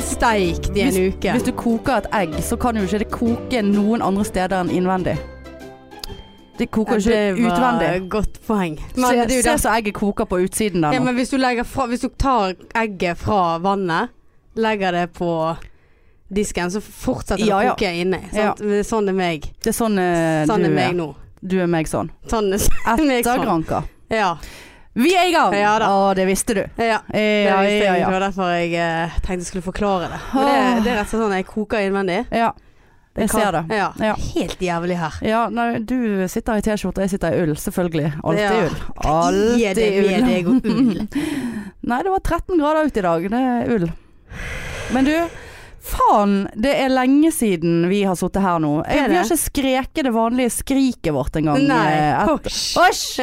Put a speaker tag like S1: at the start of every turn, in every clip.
S1: steikt i en
S2: hvis,
S1: uke.
S2: Hvis du koker et egg, så kan jo ikke det koke noen andre steder enn innvendig. Det koker jo
S1: Ja,
S2: ikke utvendig.
S1: Det var et godt poeng. Men, det er jo
S2: Se, se
S1: det-
S2: så egget koker på utsiden der
S1: ja,
S2: nå.
S1: men hvis, du legger fra, hvis du tar egget fra vannet, legger det på disken, så fortsetter det
S2: Ja,
S1: å
S2: ja.
S1: koke inni. sant? Men det er Sånn er meg.
S2: Det er sånn, eh,
S1: Sånn
S2: du,
S1: er meg
S2: er.
S1: nå.
S2: du er meg sånn.
S1: Sånn er meg sånn.
S2: Ettergranker.
S1: Ja.
S2: Vi er i gang!
S1: Ja da.
S2: Å, det visste du.
S1: ja. Det,
S2: Ja,
S1: visste
S2: ja,
S1: jeg. det
S2: ja.
S1: var derfor jeg eh, tenkte jeg skulle forklare det. Men det, det er rett og slett sånn jeg koker innvendig.
S2: ja. Jeg ser det.
S1: Ja.
S2: Ja.
S1: Helt jævlig her.
S2: Ja, nei, du sitter i T-skjorte, jeg sitter i ull. Selvfølgelig. Alltid
S1: Ja.
S2: ull.
S1: Gi det
S2: Alltid
S1: med deg og ull.
S2: Nei, det var 13 grader ute i dag. Det er ull. Men du, faen. Det er lenge siden vi har sittet her nå.
S1: Det
S2: Jeg,
S1: er
S2: vi har
S1: det.
S2: ikke skreket det vanlige skriket vårt engang. eh,
S1: Nei.
S2: etter-
S1: Hysj.
S2: Hysj!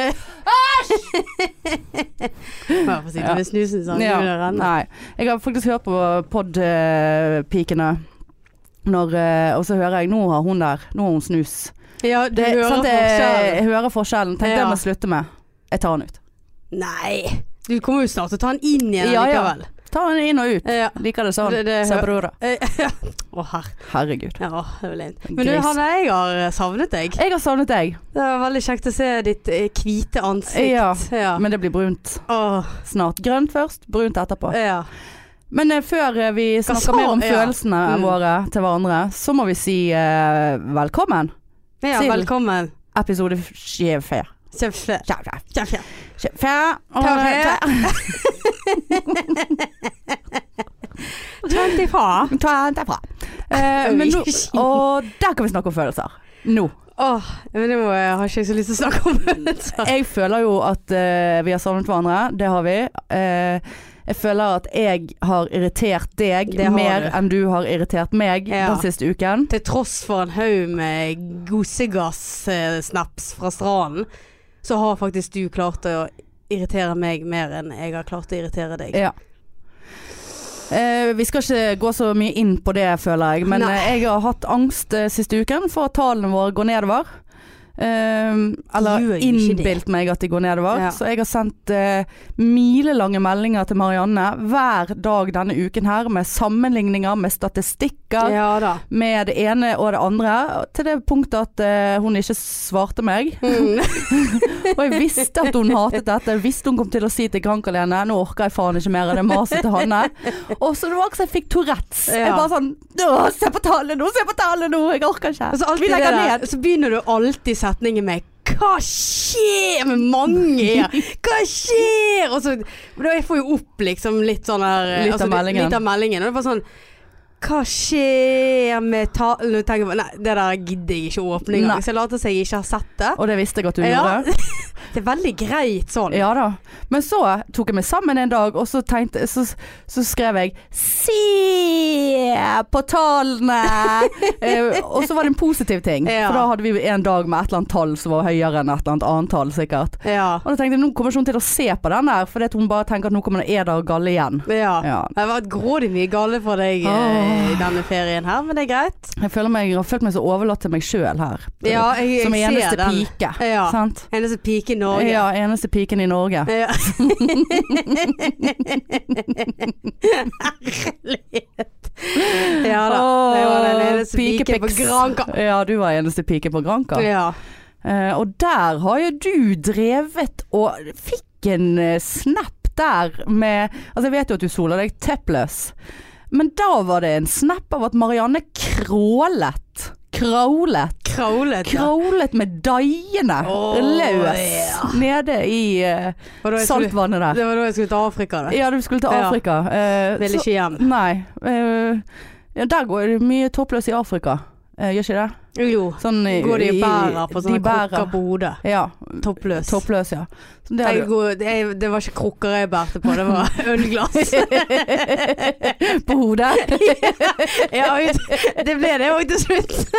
S1: Bare forsiktig
S2: Ja.
S1: med snusen, sånn.
S2: Ja,
S1: Det vil renne.
S2: Nei. Jeg har faktisk hørt på podpikene. Når, eh, og så hører jeg Nå har hun der. Nå har hun snus.
S1: Ja, du
S2: Det,
S1: hører
S2: sant, jeg,
S1: forskjellen.
S2: jeg hører forskjellen. Tenk det
S1: Ja.
S2: må jeg slutte med. Jeg tar den ut.
S1: Nei. Du kommer jo snart til å ta den inn igjen
S2: Ja, ja.
S1: likevel.
S2: Ta den inn og ut.
S1: Ja.
S2: Liker det sånn.
S1: Det- det-
S2: Sa brora.
S1: Eh, Å, herre.
S2: Herregud.
S1: Ja, det var leit. Men du,
S2: Gris.
S1: Hanne, jeg har eh, savnet deg.
S2: Jeg har savnet deg,
S1: Det var veldig kjekt å se ditt eh, hvite ansikt.
S2: Ja.
S1: ja.
S2: men det blir brunt
S1: Åh,
S2: snart. Grønt først, brunt etterpå.
S1: ja.
S2: Men eh, før eh, vi
S1: sa-
S2: snakker mer om
S1: ja.
S2: følelsene
S1: Mm.
S2: våre til hverandre, så må vi si eh, velkommen.
S1: ja
S2: Til-
S1: velkommen.
S2: Episode 24.
S1: Kjempe. Kjempe.
S2: 24. Og- eh,
S1: Kjempe. Kjente ifra.
S2: Ta den derfra. Eh, men nå, og der kan vi snakke om følelser. Nå.
S1: Åh, men det må jeg, har ikke jeg så lyst til å snakke om følelser.
S2: Jeg føler jo at eh, vi har savnet hverandre. Det har vi. Eh, jeg føler at jeg har irritert deg
S1: Det har
S2: mer
S1: du.
S2: enn du har irritert meg
S1: Ja.
S2: den siste uken.
S1: Til tross for en haug med gosegass-snaps fra stranden, så har faktisk du klart å irritere meg mer enn jeg har klart å irritere deg.
S2: Ja. Eh, vi skal ikke gå så mye inn på det, føler jeg. Men
S1: Nei.
S2: eh, jeg har hatt angst eh, siste uken for at tallene våre går nedover. Eh,
S1: Gjør
S2: eller
S1: jo ikke det.
S2: innbilt meg at de går nedover.
S1: Ja.
S2: Så jeg har sendt eh, milelange meldinger til Marianne hver dag denne uken her med sammenligninger, med statistikker,
S1: Ja da.
S2: med det ene og det andre. Til det punktet at eh, hun ikke svarte meg.
S1: Mm.
S2: Og jeg visste at hun hatet dette. Jeg visste hun kom til å si til Grank-Alene Nå orker jeg faen ikke mer av det maset til Hanne. Og så det var ikke så jeg fikk Tourettes. Jeg
S1: Ja.
S2: bare sånn Å, se på tallet nå, se på tallet nå! Jeg orker ikke.
S1: Altså, alltid
S2: Vi legger
S1: det der,
S2: ned.
S1: Så begynner du alltid setningen med hva skjer med mange her? Hva skjer? Og så, men da, jeg får jo opp liksom litt sånn her eh,
S2: Litt av
S1: det-
S2: meldingen.
S1: Litt av meldingen. Og det er bare sånn Hva skjer med tallene? Og tenker jeg bare, Nei, det der gidder jeg ikke å åpne
S2: Nei.
S1: engang. Så jeg later som jeg ikke har sett det.
S2: Og det visste jeg at du
S1: Ja.
S2: gjorde.
S1: Det er veldig greit sånn.
S2: Ja da. Men så tok jeg meg sammen en dag, og så, tenkte, så, så skrev jeg 'se på tallene'. eh, og så var det en positiv ting.
S1: Ja.
S2: For da hadde vi en dag med et eller annet tall som var høyere enn et eller annet annet tall, sikkert.
S1: Ja.
S2: Og da tenkte jeg, nå kommer ikke hun til å se på den der, fordi at hun bare tenker at nå kommer det eder og galle igjen.
S1: ja.
S2: Ja.
S1: Det har vært grådig mye gale for deg eh, i denne ferien her, men det er greit.
S2: Jeg, føler meg, jeg har følt meg så overlatt til meg sjøl her.
S1: Ja, jeg, jeg
S2: Som eneste
S1: ser den.
S2: pike.
S1: Ja.
S2: Sant?
S1: Eneste pike i Norge.
S2: Ja, eneste piken i Norge.
S1: Ja. Herlighet. Ja da. Det var den
S2: Åh,
S1: eneste piken på
S2: pikepiks.
S1: Granka.
S2: Ja, du var eneste pike på Granka.
S1: Ja.
S2: Eh, og der har jo du drevet og fikk en eh, snap der med Altså, jeg vet jo at du soler deg teppløs, men da var det en snap av at Marianne krålet. Krålet.
S1: Kravlet. ja.
S2: Krålet med daiene
S1: Åh,
S2: løs
S1: ja.
S2: nede i eh,
S1: Og da jeg skulle-
S2: saltvannet der.
S1: Det var da jeg skulle til Afrika. Da.
S2: Ja, du skulle til
S1: Ja.
S2: Afrika. eh,
S1: Ville
S2: så,
S1: ikke hjem.
S2: nei. eh, ja, der går det mye toppløs i Afrika, eh, gjør ikke det?
S1: Jo.
S2: Sånn i-
S1: Går de og
S2: i-
S1: bærer på sånne
S2: de bærer.
S1: krukker på hodet.
S2: Ja.
S1: Toppløs.
S2: Toppløs, ja. Så det har
S1: Jeg
S2: du-
S1: går- det, det var ikke krukker jeg bærte på, det var ølglass.
S2: på hodet.
S1: Ja, ut- det ble det òg til slutt.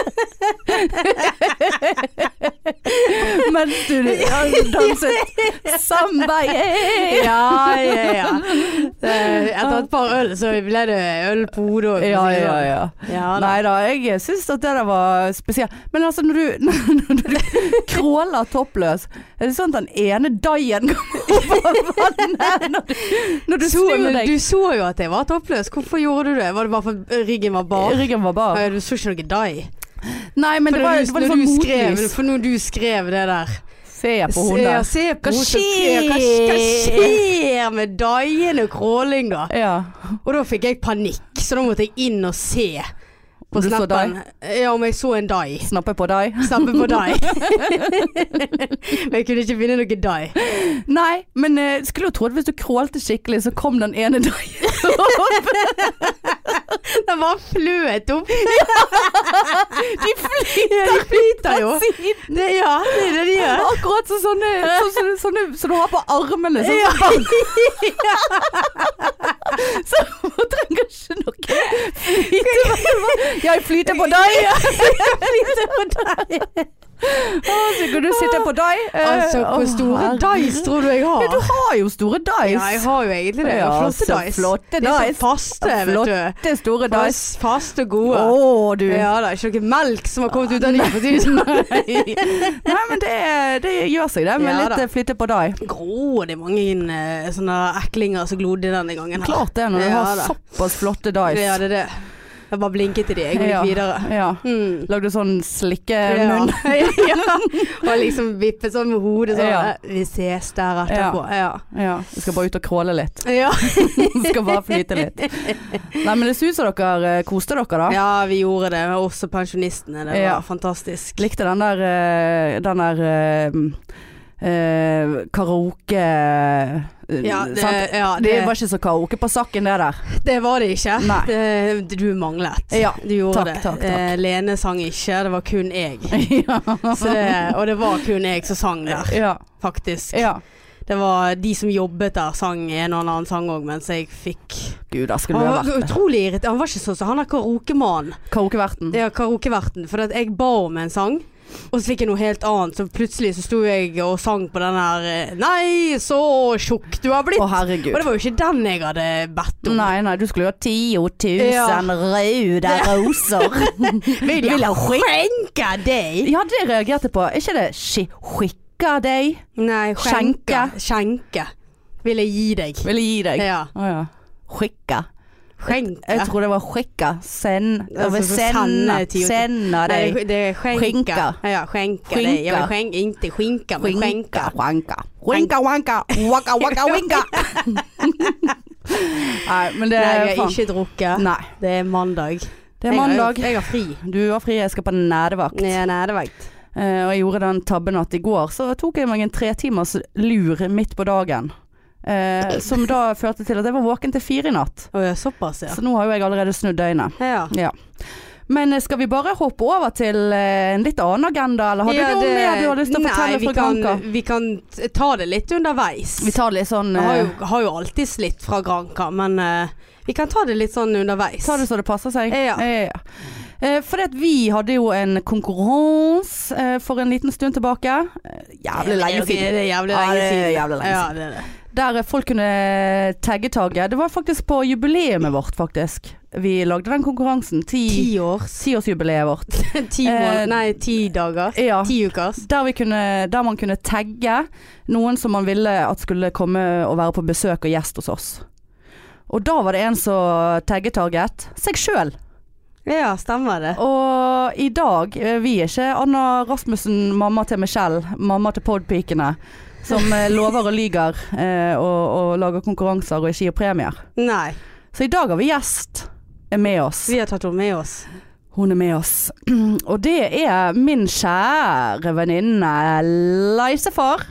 S2: mens du danset Sambaye.
S1: Ja, ja, ja. Eh, Etter et par øl, så ble det øl på hodet òg.
S2: Ja, ja, ja.
S1: Ja, da.
S2: Nei da, jeg syns at det der var spesielt. Men altså, når du, når du crawler toppløs, er det sånn at den ene daien kommer over vannet når du, når du
S1: så,
S2: snur
S1: men
S2: deg?
S1: du så jo at jeg var toppløs. Hvorfor gjorde du det? Var det bare for ryggen var bar?
S2: Ryggen var bar.
S1: Ja, Du så ikke noe die?
S2: Nei, men
S1: For,
S2: det var,
S1: når,
S2: det
S1: du,
S2: var litt
S1: når,
S2: sånn
S1: du skrev,
S2: motlys.
S1: for når du skrev det der
S2: Se på
S1: Se-
S2: hun
S1: ja,
S2: der.
S1: Se på
S2: Hva
S1: hun som skrev. Hva, hva
S2: skjer?
S1: skjer med daiende crawling, da?
S2: Ja.
S1: Og da fikk jeg panikk, så da måtte jeg inn og se
S2: Om
S1: på
S2: du så
S1: snappen. Ja, om jeg så en dai.
S2: Snappe på deg.
S1: Snappe på dai. Men jeg kunne ikke finne noe dai.
S2: Nei, men eh, skulle jo tro at hvis du crawlte skikkelig, så kom den ene daien opp.
S1: Den bare fløt opp.
S2: De flyter
S1: Ja, de flyter jo.
S2: på siden.
S1: Det, ja, det er det de gjør.
S2: Akkurat som sånne, så, så, sånne som du har på armene. Sånn,
S1: Ja.
S2: Så man trenger ikke noe flyte. Jeg flyter på deg. Å, så kan du sitte på deg. eh,
S1: Altså,
S2: å,
S1: hvor store
S2: herre.
S1: dice tror du jeg
S2: Ja, du
S1: har?
S2: har jo store dice.
S1: Ja, jeg har jo egentlig det. Jeg har
S2: Ja,
S1: flotte
S2: så
S1: dice. De
S2: flotte
S1: er
S2: dice.
S1: så faste, vet du.
S2: Flotte, store dice.
S1: Fast, faste,
S2: Å,
S1: gode.
S2: du.
S1: Ja da, ikke noe melk som har kommet ut av dem, for å si det sånn.
S2: Nei, men det, det gjør seg, det. Med
S1: Ja
S2: litt
S1: da.
S2: eh, flytte på deg.
S1: Grå, det er mange eh, sånne eklinger som glodde denne gangen. her.
S2: Klart det, når du
S1: Ja
S2: har
S1: da.
S2: såpass flotte dice.
S1: Ja, det er det. Jeg bare blinket til de, jeg gikk
S2: Ja.
S1: videre.
S2: Ja.
S1: Mm.
S2: Lagde sånn
S1: Ja.
S2: slikkemunn.
S1: ja. Og liksom vippet sånn med hodet sånn.
S2: Ja.
S1: Vi ses der etterpå. Ja.
S2: Ja. Jeg skal bare ut og crawle litt.
S1: Ja.
S2: Skal bare flyte litt. Nei, men det ser ut som dere eh, koste dere, da.
S1: ja, vi gjorde det. Også pensjonistene. Det var
S2: Ja.
S1: fantastisk.
S2: Likte den der, eh, den der eh, eh, karaoke eh,
S1: Ja, det,
S2: sant?
S1: ja,
S2: det
S1: det,
S2: var ikke så karaoke på saken, det der.
S1: det var det ikke.
S2: Nei.
S1: Det, du manglet.
S2: Ja,
S1: Du gjorde
S2: takk,
S1: det.
S2: takk, takk.
S1: Eh, Lene sang ikke, det var kun jeg.
S2: ja.
S1: Så det, og det var kun jeg som sang der,
S2: ja.
S1: faktisk.
S2: ja.
S1: Det var de som jobbet der, sang en og en annen sang òg, mens jeg fikk
S2: Gud, da skulle
S1: Han
S2: du ha
S1: var
S2: vært det.
S1: utrolig irritert. Han var ikke sånn som han er karaokemannen.
S2: Karaokeverten.
S1: Ja, karaokeverten. For at jeg ba om en sang, og så fikk jeg noe helt annet. Så plutselig så sto jeg og sang på den her eh, Nei, så tjukk du har blitt.
S2: Å, herregud.
S1: Og det var jo ikke den jeg hadde bedt om.
S2: Nei, nei, du skulle jo ha 10 000
S1: Ja.
S2: røde roser.
S1: Vil jeg skjenke deg?
S2: ja, det reagerte jeg på. Er ikke det «Ski- skikka deg?
S1: Nei, skjenke.
S2: Skjenke.
S1: Skjenke. Vil jeg gi deg.
S2: Vil gi deg.
S1: Ja.
S2: Å ja. Skikka.
S1: Skjenke.
S2: Jeg tror det var skikka. Send.
S1: Altså,
S2: Altså,
S1: så
S2: sende.
S1: sende til-
S2: Sende
S1: Nei,
S2: deg.
S1: det er skjenke.
S2: Skjenke.
S1: Ja, skjenke.
S2: Skjenke.
S1: deg. Ja, men skjenke. Ikke skjenke, men skjenke.
S2: Skjenka. Wanka. Wanka, wanka. Waka, waka, winka. Nei, men det
S1: Nei,
S2: er
S1: jeg har
S2: faen.
S1: ikke drukket.
S2: Nei.
S1: Det er mandag.
S2: Det er
S1: Jeg
S2: mandag.
S1: har, jeg har fri.
S2: Du har fri, jeg skal på nærvakt.
S1: Ja, nei, det vet jeg.
S2: Eh, og jeg gjorde den tabben at i går så tok jeg meg en tre timers lur midt på dagen. Eh, som da førte til at jeg var våken til fire i natt.
S1: Å, ja, såpass, ja.
S2: Så nå har jo jeg allerede snudd døgnet.
S1: Ja.
S2: Ja. Men eh, skal vi bare hoppe over til eh, en litt annen agenda, eller har
S1: Ja,
S2: du noe
S1: det-
S2: mer du har lyst til å
S1: nei,
S2: fortelle
S1: vi
S2: fra
S1: kan-
S2: Granca?
S1: Vi kan t- ta det litt underveis.
S2: Vi tar det litt sånn
S1: Jeg har
S2: eh,
S1: jo, har jo alltid slitt fra Granca, men eh, vi kan ta det litt sånn underveis.
S2: Ta det så det passer seg.
S1: Ja.
S2: For at vi hadde jo en konkurranse eh, for en liten stund tilbake. Eh, Jævlig lenge
S1: Det
S2: siden.
S1: er jævlig
S2: Ja,
S1: lenge
S2: det er
S1: siden.
S2: jævlig lenge
S1: Ja, det er det.
S2: Der eh, folk kunne eh, tagge tagge. Det var faktisk på jubileet vårt, faktisk. Vi lagde den konkurransen. Ti-
S1: Ti år.
S2: Tiårsjubileet vårt.
S1: Ti måneder. Nei, ti dager.
S2: Ja.
S1: Ti uker.
S2: Der, vi kunne, der man kunne tagge noen som man ville at skulle komme og være på besøk og gjest hos oss. Og da var det en som taggetarget seg sjøl.
S1: Ja, stemmer det.
S2: Og i dag, eh, vi er ikke Anna Rasmussen, mamma til Michelle, mamma til podpikene, som eh, lover og lyger eh, og, og lager konkurranser og ikke gir premier.
S1: Nei,
S2: Så i dag har vi gjest eh, med oss.
S1: vi har tatt henne med oss.
S2: Hun er med oss. Og det er min kjære venninne Leisefar,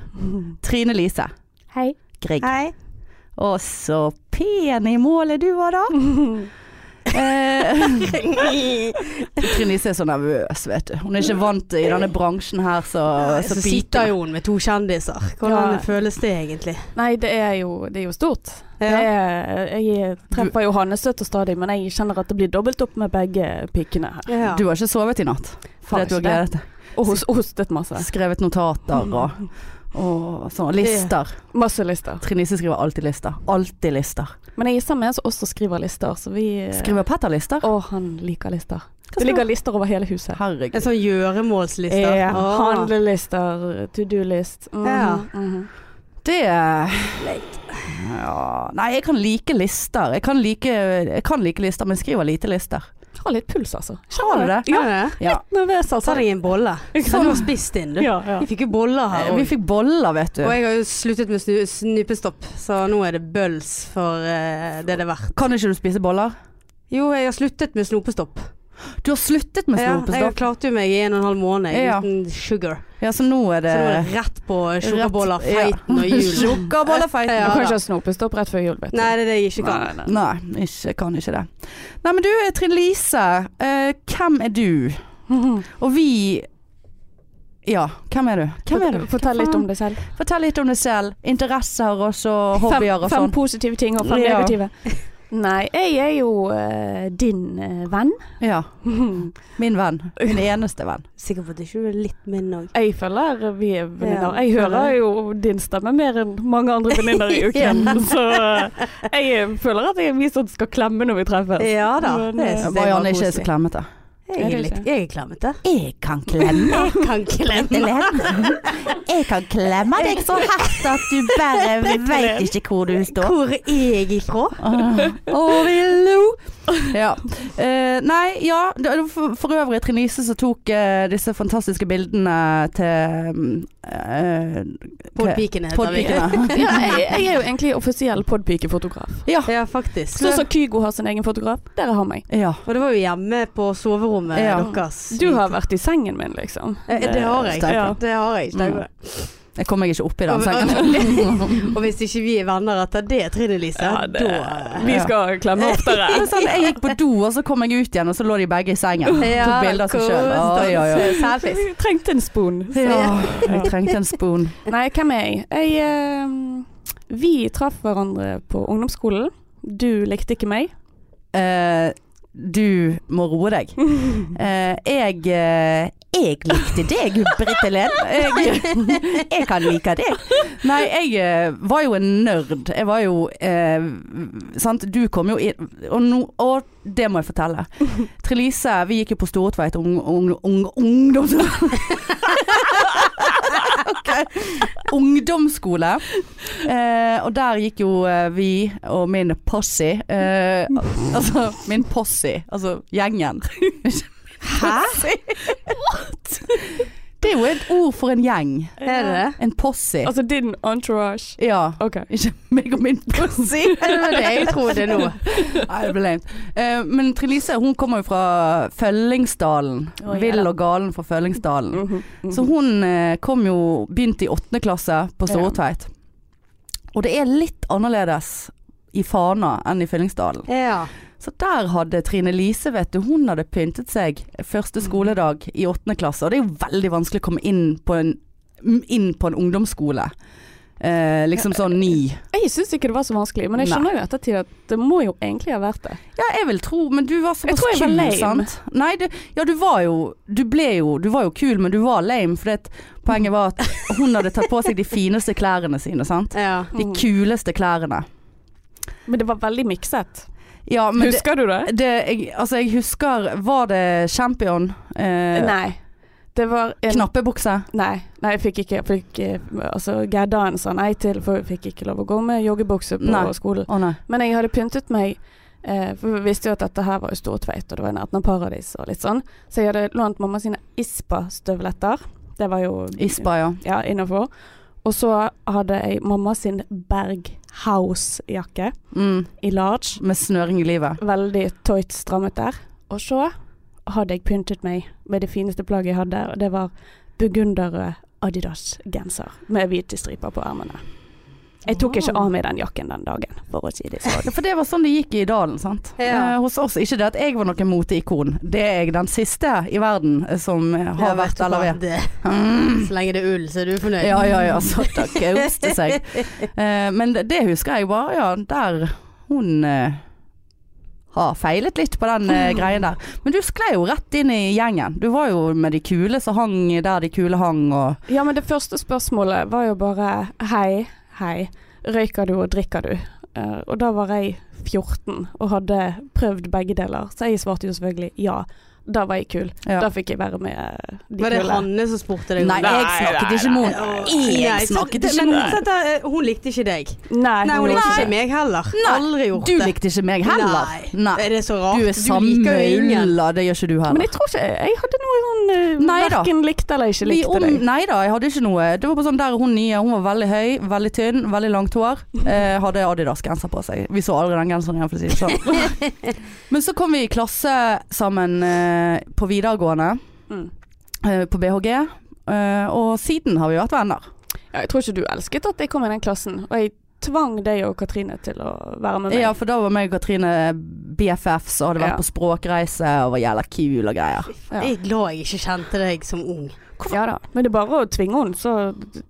S2: Trine Lise
S3: Hei.
S2: Grieg.
S1: Hei.
S2: Å, så pen i målet du var da. eh, Trine Lise er så nervøs, vet du. Hun er ikke vant i denne bransjen her, så,
S1: Så
S2: biter
S1: sitter jo hun med to kjendiser. Hvordan
S3: Ja.
S1: føles det egentlig?
S3: Nei, det er jo, det er jo stort. Det
S1: Ja.
S3: er, jeg treffer jo Hanne støtt og stadig, men jeg kjenner at det blir dobbelt opp med begge pikene her.
S1: Ja.
S2: Du har ikke sovet i natt? Fordi
S3: Har
S2: at du har
S3: ikke det.
S2: gledet deg.
S3: Og hos hostet masse.
S2: Skrevet notater og, og sånn. Lister.
S3: Masse lister.
S2: Trinise skriver alltid lister. Alltid lister.
S3: Men jeg er sammen med en som også skriver lister, så vi
S2: Skriver Petter lister?
S3: Å, han liker lister. Det
S2: skal-
S3: ligger lister over hele huset.
S2: Herregud.
S1: En sånn gjøremålsliste.
S3: Ja,
S1: Åh.
S3: handlelister, to do-list. Mhm,
S1: Ja.
S3: mhm.
S2: Det ja, Nei, jeg kan like lister. Jeg kan like, jeg kan like lister, men skriver lite lister.
S3: Jeg Har litt puls, altså.
S2: Har du det?
S1: Ja.
S3: Ja,
S1: Ja.
S2: Ja.
S3: nervøs,
S1: Ta
S3: altså.
S1: deg en bolle.
S3: Ikke
S1: Så
S3: sant?
S1: du har spist inn, du.
S3: Ja, ja.
S1: Vi fikk jo boller her.
S2: Eh, Vi
S1: Og,
S2: fikk boller, vet du.
S1: og jeg har jo sluttet med snu- snupestopp, så nå er det bøls for eh, det det er verdt.
S2: Kan ikke du spise boller?
S1: Jo, jeg har sluttet med snopestopp.
S2: Du har sluttet med
S1: Ja, jeg
S2: snopestopp.
S1: klarte jo meg i en og en halv måned
S2: Ja.
S1: uten sugar.
S2: Ja, så nå er det
S1: Så nå er det rett på sukkerboller, feiten og jul.
S2: Sukkerbollerfeiten.
S1: Ja,
S3: du kan
S1: da.
S3: ikke ha snopestopp rett før jul, vet du.
S1: Nei, det er det jeg ikke kan.
S3: Nei, nei.
S2: Nei, ikke, kan ikke det. Nei, men du Trine Lise, eh, hvem er du?
S3: Mhm.
S2: Og vi Ja, hvem er du? Hvem er du?
S3: Fortell litt om deg selv.
S2: Fortell litt om deg selv. Interesser og så hobbyer
S3: fem,
S2: og
S3: fem
S2: sånn.
S3: positive ting og fem
S2: Ja.
S3: negative. Nei, jeg er jo eh, din eh, venn.
S2: Ja. Min venn. Min eneste venn.
S1: Sikker på at det ikke er litt min òg.
S3: Jeg føler vi er
S1: Ja,
S3: venninner. Jeg
S1: føler
S3: hører
S1: jeg.
S3: jo din stemme mer enn mange andre venninner i uken. Så eh, jeg føler at jeg er vi som skal klemme når vi treffes.
S1: Ja da.
S3: Men,
S1: det
S3: eh,
S1: synes jeg var
S2: Marianne er ikke så
S1: koselig.
S2: klemmete.
S1: Jeg
S3: Er
S1: er
S3: du
S1: litt
S3: ikke?
S1: Jeg er klemmete.
S2: Jeg kan klemme.
S1: Jeg kan klemme.
S2: Jeg kan klemme deg så hardt at du bare veit ikke hvor du
S1: Hvor er jeg ifra?
S2: Oh, villo. Ja. Eh, nei, ja. det var For, for øvrig Trine Lise som tok eh, disse fantastiske bildene til uh,
S1: Podpiken heter vi.
S2: Podpikene.
S3: Ja, jeg, jeg er jo egentlig offisiell podpikefotograf.
S2: ja.
S1: Ja, faktisk.
S3: Sånn som Kygo har sin egen fotograf. Der har meg.
S2: ja.
S1: Og det var jo hjemme på soverommet
S2: Ja.
S1: deres.
S3: Du har vært i sengen min, liksom.
S1: Eh, Det har jeg.
S2: Steike.
S1: Ja. Det har jeg. Steike.
S2: Jeg kom meg ikke opp i den
S1: Og-
S2: sengen.
S1: Og hvis ikke vi er venner etter det, Trine Lise,
S3: Ja, det-
S1: da
S3: Vi skal klemme oftere.
S2: Det er sånn, jeg gikk på do, og så kom jeg ut igjen, og så lå de begge i sengen. Tok bilder av seg sjøl. Oi, oi, oi.
S1: Selfies.
S3: Jeg trengte en spoon.
S2: Ja, jeg trengte en spoon.
S3: Nei, hvem er jeg? jeg ehm, vi traff hverandre på ungdomsskolen. Du likte ikke meg.
S2: Eh, du må roe deg. Eh, jeg eh, Jeg likte deg, Britt Helen. Jeg, jeg kan like deg. Nei, jeg eh, var jo en nerd. Jeg var jo eh, Sant, du kom jo inn Og, nå- og det må jeg fortelle. Trelise, vi gikk jo på Storetveit ung, ung, ung, ungdoms... Ok. Ungdomsskole. Eh, og der gikk jo eh, vi og min posse eh, al- Altså min posse, altså gjengen. Hæ? Det er jo et ord for en gjeng.
S1: Er det det?
S2: En posse.
S3: Altså din entourage.
S2: Ja.
S3: Ok.
S2: Ikke meg og min posse.
S1: Det var det jeg trodde nå.
S2: Nei, det ble lame. Eh, men Trelise hun kommer jo fra Føllingsdalen.
S3: Å, ja.
S2: Vill og galen fra Føllingsdalen. Så hun eh, kom jo Begynte i åttende klasse på Stortveit. Og det er litt annerledes i Fana enn i Fyllingsdalen.
S1: Ja.
S2: Så der hadde Trine Lise, vet du, hun hadde pyntet seg første skoledag i åttende klasse. Og det er jo veldig vanskelig å komme inn på en, m- inn på en ungdomsskole. Eh, liksom sånn ni.
S3: Jeg syns ikke det var så vanskelig, men jeg
S2: Nei.
S3: skjønner jo i ettertid at det må jo egentlig ha vært det.
S2: Ja, jeg vil tro, men du var
S3: Jeg
S2: såpass
S3: tror jeg var
S2: kul,
S3: lame.
S2: sant? Nei, du, ja, du var jo Du ble jo Du var jo kul, men du var lame. For det, at poenget var at hun hadde tatt på seg de fineste klærne sine, sant?
S1: ja.
S2: De kuleste klærne.
S3: Men det var veldig mikset.
S2: Ja, men det,
S3: Husker du det?
S2: det jeg, Altså, jeg husker Var det champion? Eh,
S3: Nei. Det var en
S2: Knappebukse?
S3: Nei, nei, jeg fikk ikke jeg fikk, eh, Altså, Gerdan sa nei til, for jeg fikk ikke lov å gå med joggebukse på
S2: Nei.
S3: skolen.
S2: Å nei.
S3: Men jeg hadde pyntet meg, eh, for vi visste jo at dette her var jo stortveit, og det var i nærheten av paradis og litt sånn. Så jeg hadde lånt mamma sine Ispa-støvletter. Det var jo
S2: Ispa, ja.
S3: Ja, innafor. Og så hadde jeg mamma sin Berghaus-jakke
S2: Mm,
S3: i large.
S2: med snøring i livet.
S3: Veldig tøyt strammet der. Og så hadde jeg pyntet meg med det fineste plagget jeg hadde, og det var burgunderrød Adidas-genser med hvite striper på ermene. Jeg tok ikke av meg den jakken den dagen, for å si det sånn.
S2: Ja, for det var sånn det gikk i dalen, sant.
S1: Ja.
S2: Eh, hos oss. Ikke det at jeg var noe moteikon. Det er jeg den siste i verden eh, som eh, har vært eller er.
S1: det.
S2: Mm.
S1: Så lenge det er ull, så er du fornøyd.
S2: Ja, ja, ja. Så da gauste seg. Eh, men det, det husker jeg bare, ja. Der hun eh, har feilet litt på den eh, greien der. Men du sklei jo rett inn i gjengen. Du var jo med de kule som hang der de kule hang og
S3: Ja, men det første spørsmålet var jo bare Hei, hei, røyker du og drikker du? Eh, og da var jeg 14 og hadde prøvd begge deler, så jeg svarte jo selvfølgelig ja. Da var jeg kul.
S2: Ja.
S3: Da fikk jeg være med eh, de
S1: Var det
S3: kule.
S1: Hanne som spurte deg? om
S2: Nei,
S1: det?
S2: jeg snakket ikke med
S1: Åh,
S2: henne.
S1: nei,
S2: Jeg
S1: så-
S2: snakket ikke
S1: men
S2: med henne.
S1: sett der, eh, Hun likte ikke deg.
S3: Nei,
S1: Nei, hun likte ikke
S3: meg.
S1: meg heller.
S2: Nei,
S1: Aldri gjort
S2: Du
S1: det.
S2: likte ikke meg heller.
S1: Nei. Er det så rart?
S2: Du er samme ulla, det gjør ikke du
S3: Men
S2: heller.
S3: jeg tror ikke Jeg hadde noe sånn uh,
S2: Nei da.
S3: Verken likte eller ikke
S2: Vi
S3: likte
S2: om,
S3: deg.
S2: nei da, jeg hadde ikke noe. Det var bare sånn der hun nye, hun var veldig høy, veldig tynn, veldig langt hår. Eh, hadde Adidas-genser på seg. Vi så aldri den genseren igjen, for å si det sånn. Men så kom vi i klasse sammen eh, på videregående,
S3: Mm.
S2: eh, på BHG. Eh, og siden har vi vært venner.
S3: Ja, jeg tror ikke du elsket at jeg kom i den klassen, og jeg tvang deg og Katrine til å være med meg.
S2: Ja, for da var meg og Katrine BFFs og hadde vært
S3: Ja.
S2: på språkreise og var jævla kul og greier.
S3: Ja.
S1: Jeg er glad jeg ikke kjente deg som ung.
S3: Ja da, men det er bare å tvinge henne så,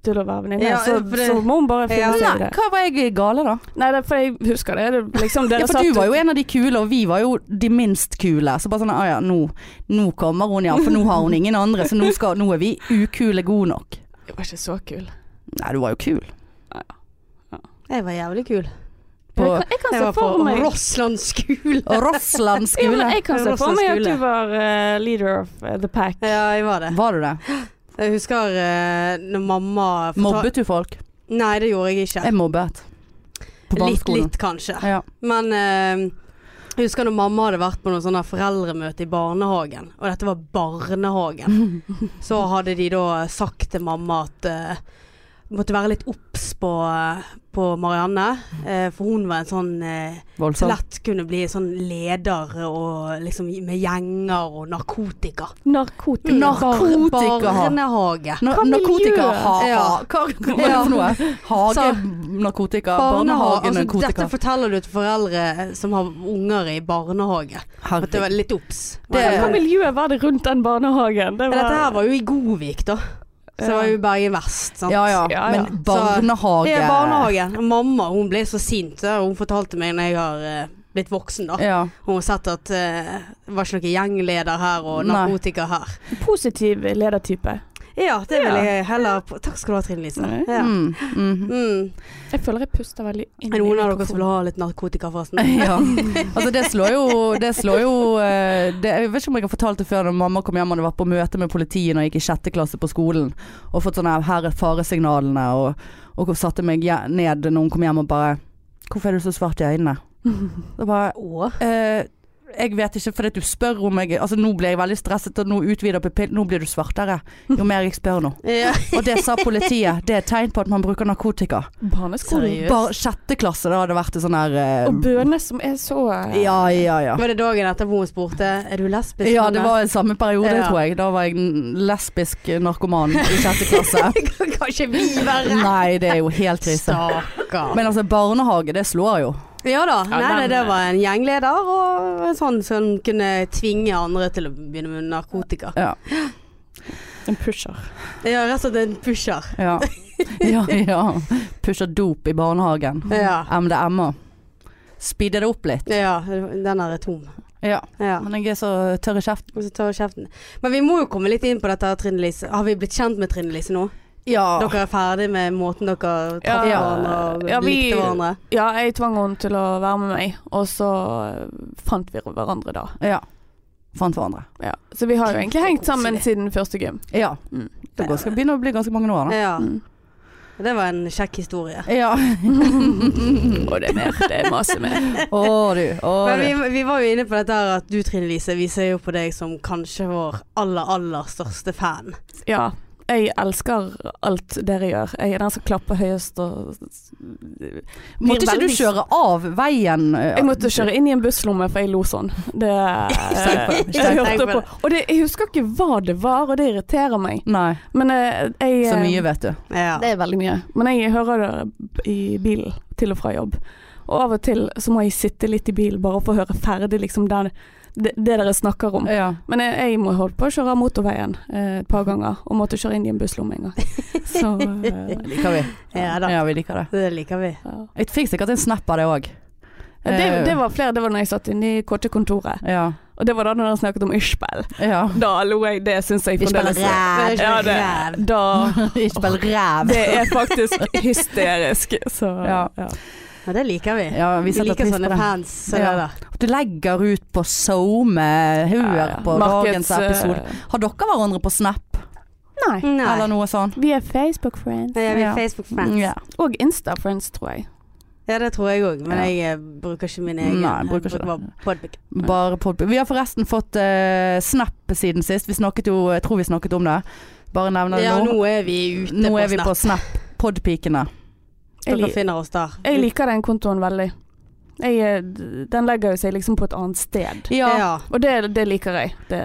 S3: til å være venninne.
S1: Ja,
S3: så,
S1: for det-
S3: så må hun bare finne
S1: Ja.
S3: seg i
S2: Nei,
S3: det.
S2: hva var jeg gale da?
S3: Nei, det er for jeg husker det. det er liksom, dere
S2: Ja, for
S3: satt
S2: du var jo en av de kule, og vi var jo de minst kule. Så bare sånn, ah ja, nå, nå kommer hun, ja. For nå har hun ingen andre, så nå, skal, nå er vi ukule gode nok.
S3: Jeg var ikke så kul.
S2: Nei, du var jo kul.
S1: Jeg var jævlig kul.
S2: På
S3: jeg, kan- jeg kan
S1: Jeg
S3: se
S1: var på
S3: for meg
S1: Rossland skole.
S2: Rossland
S3: ja, men
S2: skole.
S3: Jeg kan se
S1: Rosa
S3: for meg at
S1: skole.
S3: du var eh, leader of eh, the pack.
S1: Ja, jeg var det.
S2: Var du det?
S1: Jeg husker eh, når mamma fortal-
S2: Mobbet du folk?
S1: Nei, det gjorde jeg ikke.
S2: Jeg mobbet. På
S1: Litt,
S2: barneskolen.
S1: litt kanskje.
S2: Ja.
S1: Men eh, jeg husker når mamma hadde vært på noen sånne foreldremøte i barnehagen, og dette var barnehagen, så hadde de da sagt til mamma at eh, måtte være litt obs på, eh, på Marianne, eh, for hun var en sånn eh, så
S2: Voldsomt.
S1: lett kunne bli sånn leder og liksom med gjenger og narkotika.
S3: Narkotika.
S2: Narko- Narkotika.
S1: Barnehage.
S2: Na-
S3: Hva
S2: narkotika,
S3: miljø?
S2: ha, ha.
S1: Ja.
S2: Hva, hva er det for noe? Hage, narkotika,
S1: Barnehage,
S2: barnehage,
S1: altså, dette
S2: narkotika.
S1: forteller du til foreldre som har unger i barnehage. At det var
S2: Herregud.
S1: litt obs.
S2: Det-
S3: Hva miljø var det rundt den barnehagen? Det
S1: Men dette her var jo i Godvik, da. Så det var jo i Bergen Vest. Sant?
S2: Ja, ja.
S3: Ja, ja.
S2: Men barnehage.
S1: Det er barnehagen. Mamma hun ble så sint. da. Hun fortalte meg når jeg har eh, blitt voksen, da.
S2: Ja.
S1: Hun har sett at eh, det var ikke noen gjengleder her og
S2: Nei.
S1: narkotika her.
S3: Positiv ledertype.
S1: Ja, det vil
S3: Ja.
S1: jeg heller på. Takk skal du ha, Trine Lise.
S3: Nei.
S1: Ja.
S2: Mm, mhm.
S1: Mm.
S3: Jeg føler jeg puster veldig inn
S1: Er det noen av dere som
S3: mikrofonen.
S1: vil ha litt narkotika, forresten?
S2: Ja. Altså det slår jo, det slår jo eh, det, Jeg vet ikke om jeg har fortalt det før når mamma kom hjem og hadde vært på møte med politiet når jeg gikk i sjette klasse på skolen og fått sånne her, her er faresignalene og, og satte meg je- ned når hun kom hjem og bare Hvorfor er du så svart i øynene? Da bare
S1: Å.
S2: eh, Jeg vet ikke, fordi at du spør om jeg Altså nå ble jeg veldig stresset, og nå utvider pupillen Nå blir du svartere jo mer jeg spør nå.
S1: Ja.
S2: Og det sa politiet. Det er et tegn på at man bruker narkotika.
S3: Barneskolen.
S1: Seriøst?
S2: Bare sjette klasse, da hadde det vært en sånn her eh,
S3: Og bønene som er så eh,
S2: Ja, ja, ja.
S1: Var det dagen etterpå hun spurte Er du lesbisk?
S2: Ja,
S1: Hanne?»
S2: det var i samme periode,
S1: Ja.
S2: tror jeg. Da var jeg en lesbisk narkoman i sjette klasse.
S1: Kanskje vi verre?
S2: Nei, det er jo helt krise.
S1: Stakkar.
S2: Men altså, barnehage, det slår jo.
S1: Ja da.
S3: Ja,
S1: Nei, nei,
S3: den- eh,
S1: det var en gjengleder og en sånn som kunne tvinge andre til å begynne med narkotika.
S2: Ja.
S3: En pusher.
S1: Ja, rett og slett en pusher.
S2: Ja, ja. ja. Pusher dop i barnehagen.
S3: Mm.
S1: Ja.
S2: MDMA. Speeder det opp litt.
S1: ja. Den her er tom.
S2: Ja.
S1: Ja.
S2: Men jeg er så tørr i kjeften.
S1: Og så tar jeg kjeften. Men vi må jo komme litt inn på dette, her, Trine Lise. Har vi blitt kjent med Trine Lise nå?
S2: Ja.
S1: Dere er ferdig med måten dere traff
S3: Ja.
S1: hverandre og
S3: Ja, vi-
S1: likte hverandre?
S3: Ja, jeg tvang henne til å være med meg, og så eh, fant vi hverandre da.
S2: ja. Fant hverandre.
S3: Ja. Så vi har jo egentlig hengt sammen siden første gym.
S2: Ja.
S3: Mm.
S2: Det går- skal begynne å bli ganske mange år, da.
S1: Ja.
S3: Mm.
S1: Det var en kjekk historie.
S2: Ja.
S3: Og det er mer. Det er masse mer.
S2: Å du. Å
S1: Men
S2: du.
S1: vi, vi var jo inne på dette her at du Trine Lise, vi ser jo på deg som kanskje vår aller, aller største fan.
S3: Ja. Jeg elsker alt dere gjør. Jeg er den som klapper høyest og
S2: Måtte ikke du
S3: veldig-
S2: kjøre av veien? eh,
S3: Jeg måtte kjøre inn i en busslomme, for jeg lo sånn. Det
S2: Steik på det, steik på det.
S3: jeg hørte på. Og det, jeg husker ikke hva det var, og det irriterer meg.
S2: Nei.
S3: Men eh, jeg
S2: Så
S3: eh,
S2: mye, vet du.
S1: Ja.
S3: Det er veldig mye. Men jeg hører det i bilen til og fra jobb. Og av og til så må jeg sitte litt i bilen bare for å høre ferdig liksom den, det, det dere snakker om.
S2: Ja.
S3: Men jeg, jeg må holdt på å kjøre av motorveien eh, et par ganger, og måtte kjøre inn i en busslomme en gang. Så eh,
S2: Det liker vi.
S1: Ja da.
S2: Ja, vi liker det.
S1: Det liker vi.
S3: ja.
S2: Jeg fikk sikkert en snap av det òg.
S3: Det, det var flere, det var når jeg satt inne i KT-kontoret.
S2: Ja.
S3: Og det var da når han snakket om Ishbel.
S2: ja.
S3: Da lo jeg, det syns jeg
S2: Vi spiller
S3: fremdeles.
S2: ræv.
S3: Ja, det, da,
S2: Vi spiller ræv.
S3: det er faktisk hysterisk. Så,
S2: Ja.
S3: ja.
S1: Ja, det liker vi.
S2: Ja, vi
S1: Vi,
S2: setter
S1: liker
S2: pris på
S1: sånne
S2: det.
S1: fans. som
S2: Ja.
S1: det der.
S2: Du legger ut på SoMe, hør på
S3: Markeds- eh,
S2: dagens episode. Har dere hverandre på Snap
S3: Nei.
S1: Nei.
S2: eller noe sånt?
S3: Vi er Facebook-friends.
S1: Nei, vi
S2: Ja.
S1: er Facebook-fans.
S2: Ja.
S3: Og Insta-friends, tror jeg.
S1: Ja, det tror jeg òg, men
S2: Ja.
S1: jeg eh, bruker ikke min egen.
S2: Nei, bruker
S1: jeg
S2: ikke det.
S1: bare Podbean.
S2: Bare pod vi har forresten fått eh, Snap siden sist. Vi snakket jo, jeg tror vi snakket om det. Bare nevner det
S1: Ja,
S2: nå.
S1: nå er vi ute
S2: Nå
S1: på
S2: er vi
S1: Snap.
S2: på Snap. Podpikene.
S3: Jeg,
S1: Dere
S3: li
S1: finner oss der.
S3: jeg liker den kontoen veldig. Jeg, eh, d- den legger jo seg liksom på et annet sted.
S2: Ja, ja.
S1: ja.
S3: Og det, det liker jeg. Det,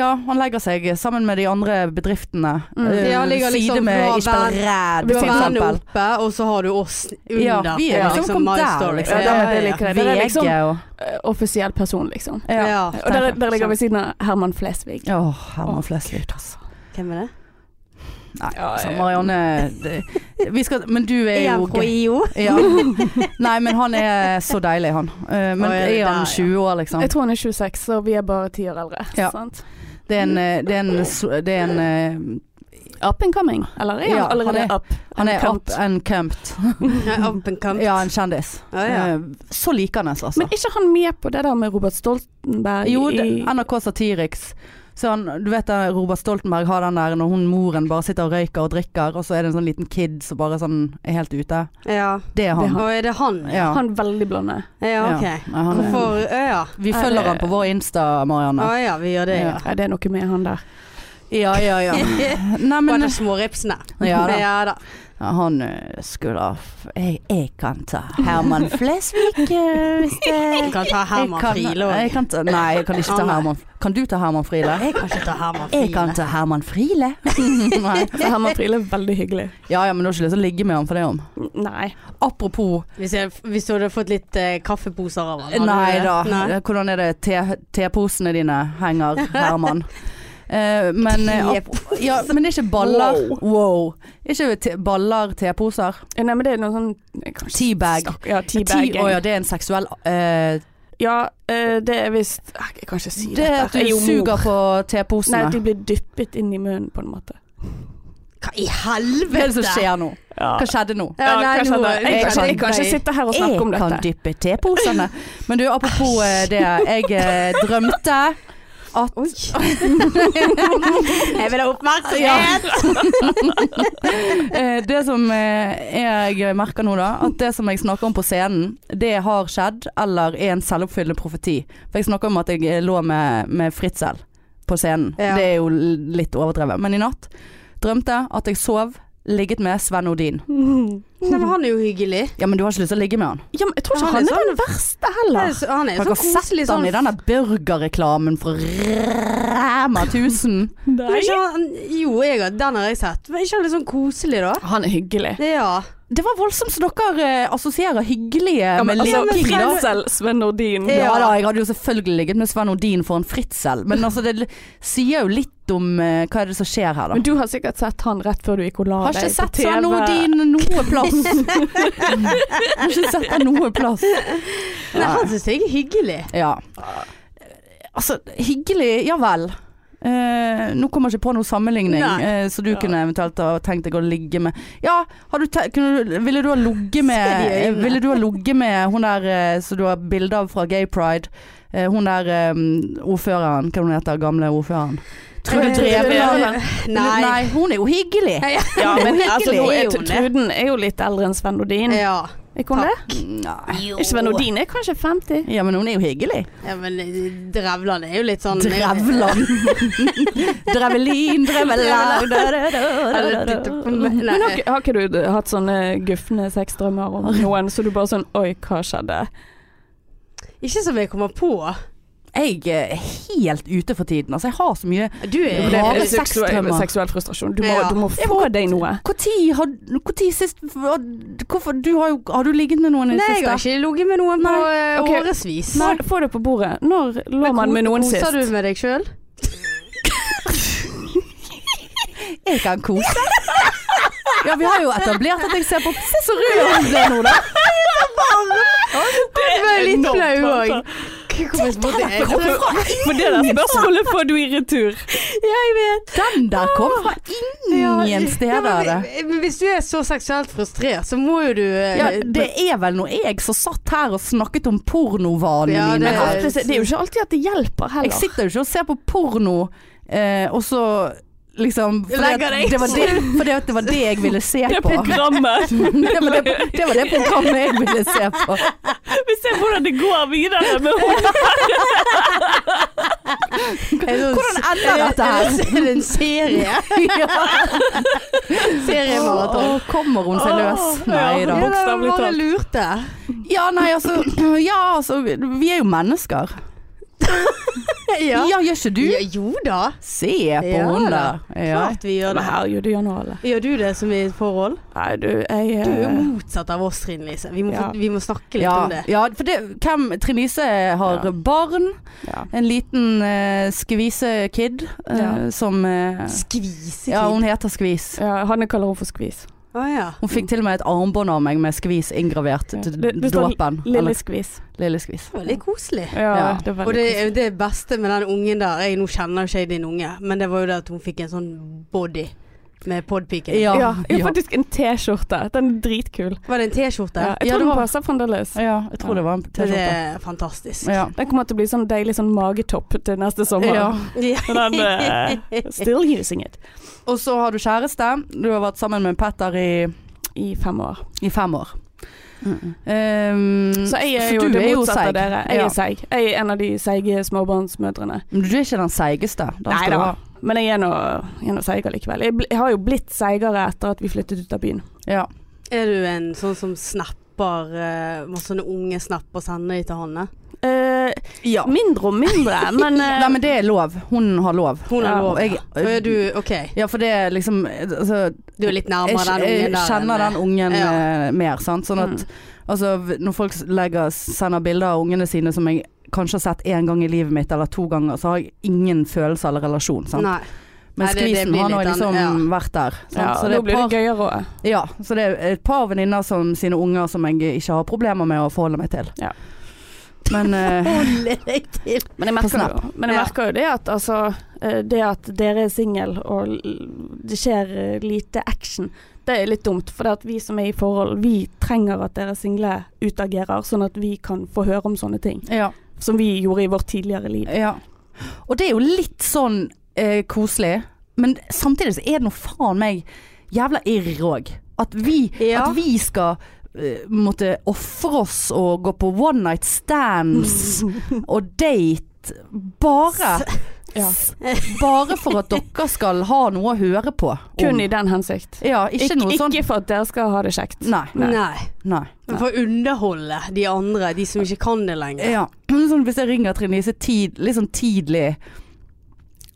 S2: han legger seg sammen med de andre bedriftene.
S3: Mm.
S2: Eh,
S1: Ja, ligger liksom-
S2: Side
S1: du
S2: med
S1: har
S2: Ishbel
S1: venn-
S2: Ræd,
S1: Du
S2: for
S1: har vennene
S2: eksempel.
S1: oppe, og så har du oss under.
S2: Ja, vi er
S3: Ja.
S2: liksom, kom
S1: my
S2: der,
S1: story.
S2: liksom.
S3: Ja, det- det liker jeg. Det er
S2: VG
S3: liksom-
S2: og
S3: eh, offisiell person, liksom.
S1: Ja.
S2: ja.
S3: Og der, der ligger ved siden av Herman Flesvig. liksom.
S2: Åh, Herman Flesvig, altså.
S1: Hvem er det?
S2: Nei,
S3: Ja,
S2: altså,
S3: jeg-
S2: Marianne det, vi skal, Men du er
S1: Er
S2: jo
S1: han fra
S2: gøy.
S1: IO?
S2: ja. Nei, men han er så deilig, han. Eh, Men
S1: Å, er det
S2: er han
S1: der,
S2: 20 år, liksom?
S3: Jeg tror han er 26, så vi er bare ti år eldre.
S2: Ja.
S3: Sant?
S2: Det er en, eh, det er en, so- det er en eh,
S3: Up and coming. Eller er han
S2: Ja,
S3: allerede
S2: han er-
S3: up?
S2: Han er
S3: Kant.
S2: up and camped.
S1: Ja, Up and come.
S2: Ja, en kjendis.
S1: Ja, ja.
S2: Eh, Så likende, altså.
S3: Men er ikke han med på det der med Robert Stoltenberg
S2: Jo, det,
S3: i
S2: NRK Satiriks. Så han, du vet det, Robert Stoltenberg har den der når hun moren bare sitter og røyker og drikker, og så er det en sånn liten kid som bare sånn er helt ute.
S1: Ja.
S2: Det er han.
S1: Og er det han?
S2: Ja.
S3: Han veldig blonde.
S1: Ja, ok.
S2: Ja. Nei, han er,
S1: Hvorfor Å ja.
S2: vi følger han på vår Insta,
S1: Å
S2: Marianne.
S1: ja, vi gjør det, ja.
S2: Ja.
S3: Ja, det er noe med han der.
S2: Ja, ja, ja. Nei,
S1: Bare
S2: men
S1: de små ripsene.
S2: Ja da.
S1: ja da.
S2: Ja, Han eh, skulle ha f- jeg, jeg kan ta Herman Flesvig eh, hvis
S1: Du
S2: det
S1: kan ta Herman
S2: Jeg kan-
S1: Friele
S2: jeg
S1: òg.
S2: kan ta- Nei, jeg kan ikke ta
S1: Ah, nei.
S2: Herman Kan du ta Herman Friele?
S1: Jeg kan ikke ta Herman
S2: Jeg kan
S1: Friele.
S2: ta Herman Friele. Nei.
S3: Så Altså, Herman Friele er veldig hyggelig.
S2: Ja ja, men du har ikke lyst til å ligge med ham for det om.
S3: Nei.
S2: Apropos
S1: Hvis, jeg- hvis du hadde fått litt eh, kaffeposer av han hadde du
S2: Nei
S1: det?
S2: da.
S1: Nei.
S2: Hvordan er det te- teposene dine henger, Herman? Eh, men, eh, ap- ja, men det er ikke baller Wow. Er Ikke te baller teposer?
S3: Nei, men det er noe sånn jeg kan ikke
S2: Teabag.
S3: snakke- Ja, teabag.
S2: Te- Å ja, det er en seksuell eh,
S3: Ja, eh, det er visst Eh, Jeg kan ikke si
S2: Det er at
S3: Jeg er
S2: du
S3: jo mor.
S2: suger på
S3: Nei,
S2: teposene.
S3: at de blir dyppet inn i munnen, på en måte.
S1: Hva i
S2: Hva er det
S1: helvete?
S2: som skjer nå?
S3: Ja.
S2: Hva skjedde nå?
S1: Ja, nei,
S3: hva skjedde?
S1: nå-
S3: jeg, kan ikke- jeg kan ikke sitte her og snakke om
S2: kan
S3: dette.
S2: dyppe teposene. Men du, apropos eh, det. Jeg eh, drømte at
S1: Jeg vil ha oppmerksomhet!
S2: Eh, Det som eh, jeg merker nå, da. At det som jeg snakker om på scenen, det har skjedd eller er en selvoppfyllende profeti. For jeg snakker om at jeg eh, lå med, med Fritzel på scenen.
S1: Ja.
S2: Det er jo l- litt overdrevet. Men i natt drømte jeg at jeg sov, ligget med Sven Odin.
S1: Nei,
S3: Mhm.
S1: men han er jo hyggelig.
S2: Ja, men du har ikke lyst til å ligge med han?
S3: Ja, men jeg tror ikke
S1: Han
S3: han,
S1: er
S3: er sånn. den verste heller.
S1: Han er- Han er
S2: Har
S1: jo
S2: dere
S1: sånn koselig
S2: sett han
S1: sånn.
S2: i denne burgerreklamen fra Rema 1000?
S1: Men ikke han- Jo, jeg, har- den har jeg sett. Men ikke han litt sånn koselig, da?
S3: Han er hyggelig.
S1: Ja.
S2: Det var voldsomt så dere eh, assosierer hyggelige
S3: Ja, men
S2: med
S3: Eh, altså,
S2: liking, da.
S3: Frenzel, Sven Nordin.
S2: Ja da, jeg hadde jo selvfølgelig ligget med Sven Odin for en fritsel, men altså det l- sier jo litt om eh, hva er det som skjer her da.
S3: Men du har sikkert sett han rett før du gikk og la
S2: Har
S3: deg
S2: ikke sett
S3: på TV.
S2: Sven Odin noe plass. Har ikke sett han noe plass.
S1: Nei, han syns jeg er hyggelig.
S2: Ja. Altså, hyggelig, ja vel. Eh, nå kommer jeg ikke på noe sammenligning,
S1: Nei.
S2: eh, så du
S3: Ja.
S2: kunne eventuelt ha tenkt deg å ligge med Ja, har du te kunne, du- ville du ha ligget med eh,
S1: Se de øynene.
S2: Ville du ha ligget med hun der eh, som du har bilde av fra Gay Pride? Eh, hun der eh, ordføreren, hva hun heter gamle ordføreren? Trude
S1: Eh,
S2: Drevland.
S1: Nei.
S2: hun er jo hyggelig.
S1: Nei.
S3: Ja, men
S1: Hyggelig
S3: altså, nå
S1: er
S3: er
S1: hun det.
S3: Truden er jo litt eldre enn Sven Nordin.
S1: Ja.
S3: Er ikke hun det?
S2: Nei.
S1: Jo.
S3: Er Sven Nordin er kanskje 50.
S2: Ja, men hun er jo hyggelig.
S1: Ja, men Drevland er jo litt sånn
S2: Drevland. Drevelin, Dreveland.
S1: Nei.
S3: Men har, ikke- har ikke du hatt sånne gufne sexdrømmer om noen, så du bare sånn Oi, hva skjedde?
S1: Ikke som jeg kommer på.
S2: Jeg er helt ute for tiden. Altså, jeg har så mye
S1: Du er jo
S2: Det er-
S3: Rare
S2: det er
S3: seksuell,
S2: sexdrømmer.
S3: seksuell frustrasjon. Du må,
S1: Ja.
S3: du må
S2: Jeg må-
S3: få deg noe.
S2: Hvor tid har hvor tid sist hva- Hvorfor du har, jo- har du ligget med noen i det
S1: Nei, jeg har
S2: siste?
S1: ikke ligget med noen på eh,
S3: ok.
S1: årevis.
S3: Få, få det på bordet. Når lå
S1: Men
S3: man med
S1: ko-
S3: noen
S1: koser
S3: sist?
S1: du med deg sjøl?
S2: Jeg kan kose. Ja, vi har jo etablert at jeg ser på Se så rød hun ble nå, da.
S1: Det ble litt
S3: enormt
S1: flau
S3: varmt,
S1: òg.
S2: Hvorfor-
S3: For det der spørsmålet får du i retur.
S1: Jeg vet.
S2: Den der kom fra ingen
S1: Ja,
S2: steder.
S1: men,
S2: det.
S1: vi- men hvis du er så seksuelt frustrert, så må jo du eh,
S2: Ja, det er vel når jeg som satt her og snakket om pornovanene
S1: Ja,
S2: mine.
S1: det-
S2: her.
S3: Det er jo ikke alltid at det hjelper
S2: Jeg
S3: heller.
S2: sitter jo ikke og ser på porno, eh, og så liksom fordi
S1: Legger
S2: at
S1: deg.
S2: det var det, fordi at det var det jeg ville se
S3: Det
S2: på.
S3: programmet.
S2: Det var det, det var det programmet jeg ville se på.
S3: Vi ser hvordan det går videre med henne.
S2: Hvordan ender dette her?
S1: Er det en serie?
S2: Ja.
S1: Seriemaraton.
S2: Å, kommer hun seg løs? Nei
S1: Ja,
S2: da.
S1: det
S3: Bokstavelig
S1: var det
S3: talt.
S1: lurte.
S2: Ja, nei, altså, ja, altså Vi er jo mennesker.
S1: Ja.
S2: Ja, gjør ikke du?
S1: Ja, jo da.
S2: Se på
S1: Ja
S2: hun
S1: da.
S2: der. Ja.
S1: Klart vi gjør
S3: Men
S1: det.
S3: herregud, det gjør nå alle.
S1: Gjør du det som i et forhold?
S3: Nei, du, jeg
S1: Du er jo
S3: eh,
S1: motsatt av oss, Trine Lise. Vi må,
S3: Ja.
S1: få- vi må snakke litt
S2: Ja,
S1: om det.
S2: ja, for det, hvem, Trine Lise har
S3: Ja.
S2: barn.
S3: ja.
S2: En liten eh, skvisekid eh,
S3: Ja.
S2: som eh,
S1: Skvisekid.
S2: Ja, hun heter Skvis.
S3: ja, Hanne kaller henne for skvis.
S1: Å ja.
S2: Hun fikk til og med et armbånd av meg med skvis inngravert
S3: Ja.
S2: til
S3: Det- det står
S2: dåpen.
S3: Lille
S2: Eller
S3: skvis.
S2: lille skvis.
S1: Det var litt koselig.
S3: Ja,
S2: Ja.
S3: det var
S1: Og det,
S3: veldig koselig.
S1: det beste med den ungen der jeg, Nå kjenner jo ikke jeg din unge, men det var jo det at hun fikk en sånn body med podpiken.
S2: Ja.
S3: Ja, jeg
S2: ja.
S3: har faktisk en T-skjorte. Den er dritkul.
S1: Var det en T-skjorte?
S3: Ja, jeg
S2: Ja, det
S3: tror den
S2: var-
S3: passer fremdeles.
S2: Ja, jeg tror det var en
S1: Det
S2: T-skjorte.
S1: er fantastisk.
S2: Ja.
S3: Den kommer til å bli sånn deilig sånn magetopp til neste sommer.
S2: Ja.
S1: Ja.
S3: Men den eh, Still using it.
S2: Og så har du kjæreste. Du har vært sammen med Petter i,
S3: I fem år.
S2: i fem år. Um,
S3: Så jeg er jo
S2: du
S3: det
S2: er jo
S3: motsatte
S2: seig.
S3: av dere. Jeg
S2: Ja.
S3: er seig. Jeg er en av de seige småbarnsmødrene.
S2: men du er ikke den seigeste. Den
S3: Nei
S2: skal
S3: da.
S2: du ha.
S3: Men jeg er nå jeg er nå seigere likevel. Jeg, bl- jeg har jo blitt seigere etter at vi flyttet ut av byen.
S2: Ja.
S1: Er du en sånn som snapper eh, masse sånne unge snapp og sender de til Hanne?
S3: Eh,
S2: ja.
S3: mindre og mindre, men eh,
S2: Nei, men det er lov. Hun har lov.
S1: Hun har
S3: Ja,
S1: lov.
S2: Og jeg,
S1: Og er du OK,
S2: ja, for det er liksom altså,
S1: du er litt nærmere
S2: jeg,
S1: den ungen der.
S2: jeg kjenner
S1: enn-
S2: den ungen
S1: Ja.
S2: eh, mer, sant. Sånn
S3: mm.
S2: at altså, v- når folk legger, sender bilder av ungene sine som jeg kanskje har sett én gang i livet mitt, eller to ganger, så har jeg ingen følelse eller relasjon, sant.
S1: Nei.
S2: Men
S1: Nei, det- det
S2: skvisen
S1: blir
S2: har nå
S1: litt
S2: liksom
S1: an-
S2: vært der. Sant?
S3: ja,
S2: så, det
S3: nå
S2: er
S3: blir
S2: par,
S3: det gøyere òg.
S2: ja, så det er et par venninner som sine unger som jeg ikke har problemer med å forholde meg til.
S3: Ja.
S2: Men eh,
S1: Holde deg til.
S3: Men jeg
S2: På
S3: merker,
S2: Snap.
S3: jo, men jeg
S1: Ja.
S3: merker jo det at altså eh, Det at dere er singel og l- det skjer eh, lite action, det er litt dumt. For det at vi som er i forhold, vi trenger at dere single utagerer, sånn at vi kan få høre om sånne ting.
S2: ja.
S3: Som vi gjorde i vårt tidligere liv.
S2: Ja. Og det er jo litt sånn eh, koselig, men samtidig så er det noe faen meg jævla irr òg. At, vi-
S1: Ja.
S2: at vi skal eh, måtte ofre oss og gå på one night stands og date. Bare,
S3: Ja.
S2: bare for at dere skal ha noe å høre på. om.
S3: Kun i den hensikt.
S2: Ja, ikke
S3: Ik-
S2: noe sånn
S3: ikke for at dere skal ha det kjekt.
S2: Nei.
S3: Nei.
S1: Nei.
S2: nei.
S1: Men For å underholde de andre, de som ikke kan det lenger.
S2: Ja. Men Sånn, hvis jeg ringer Trine Lise tid, litt sånn tidlig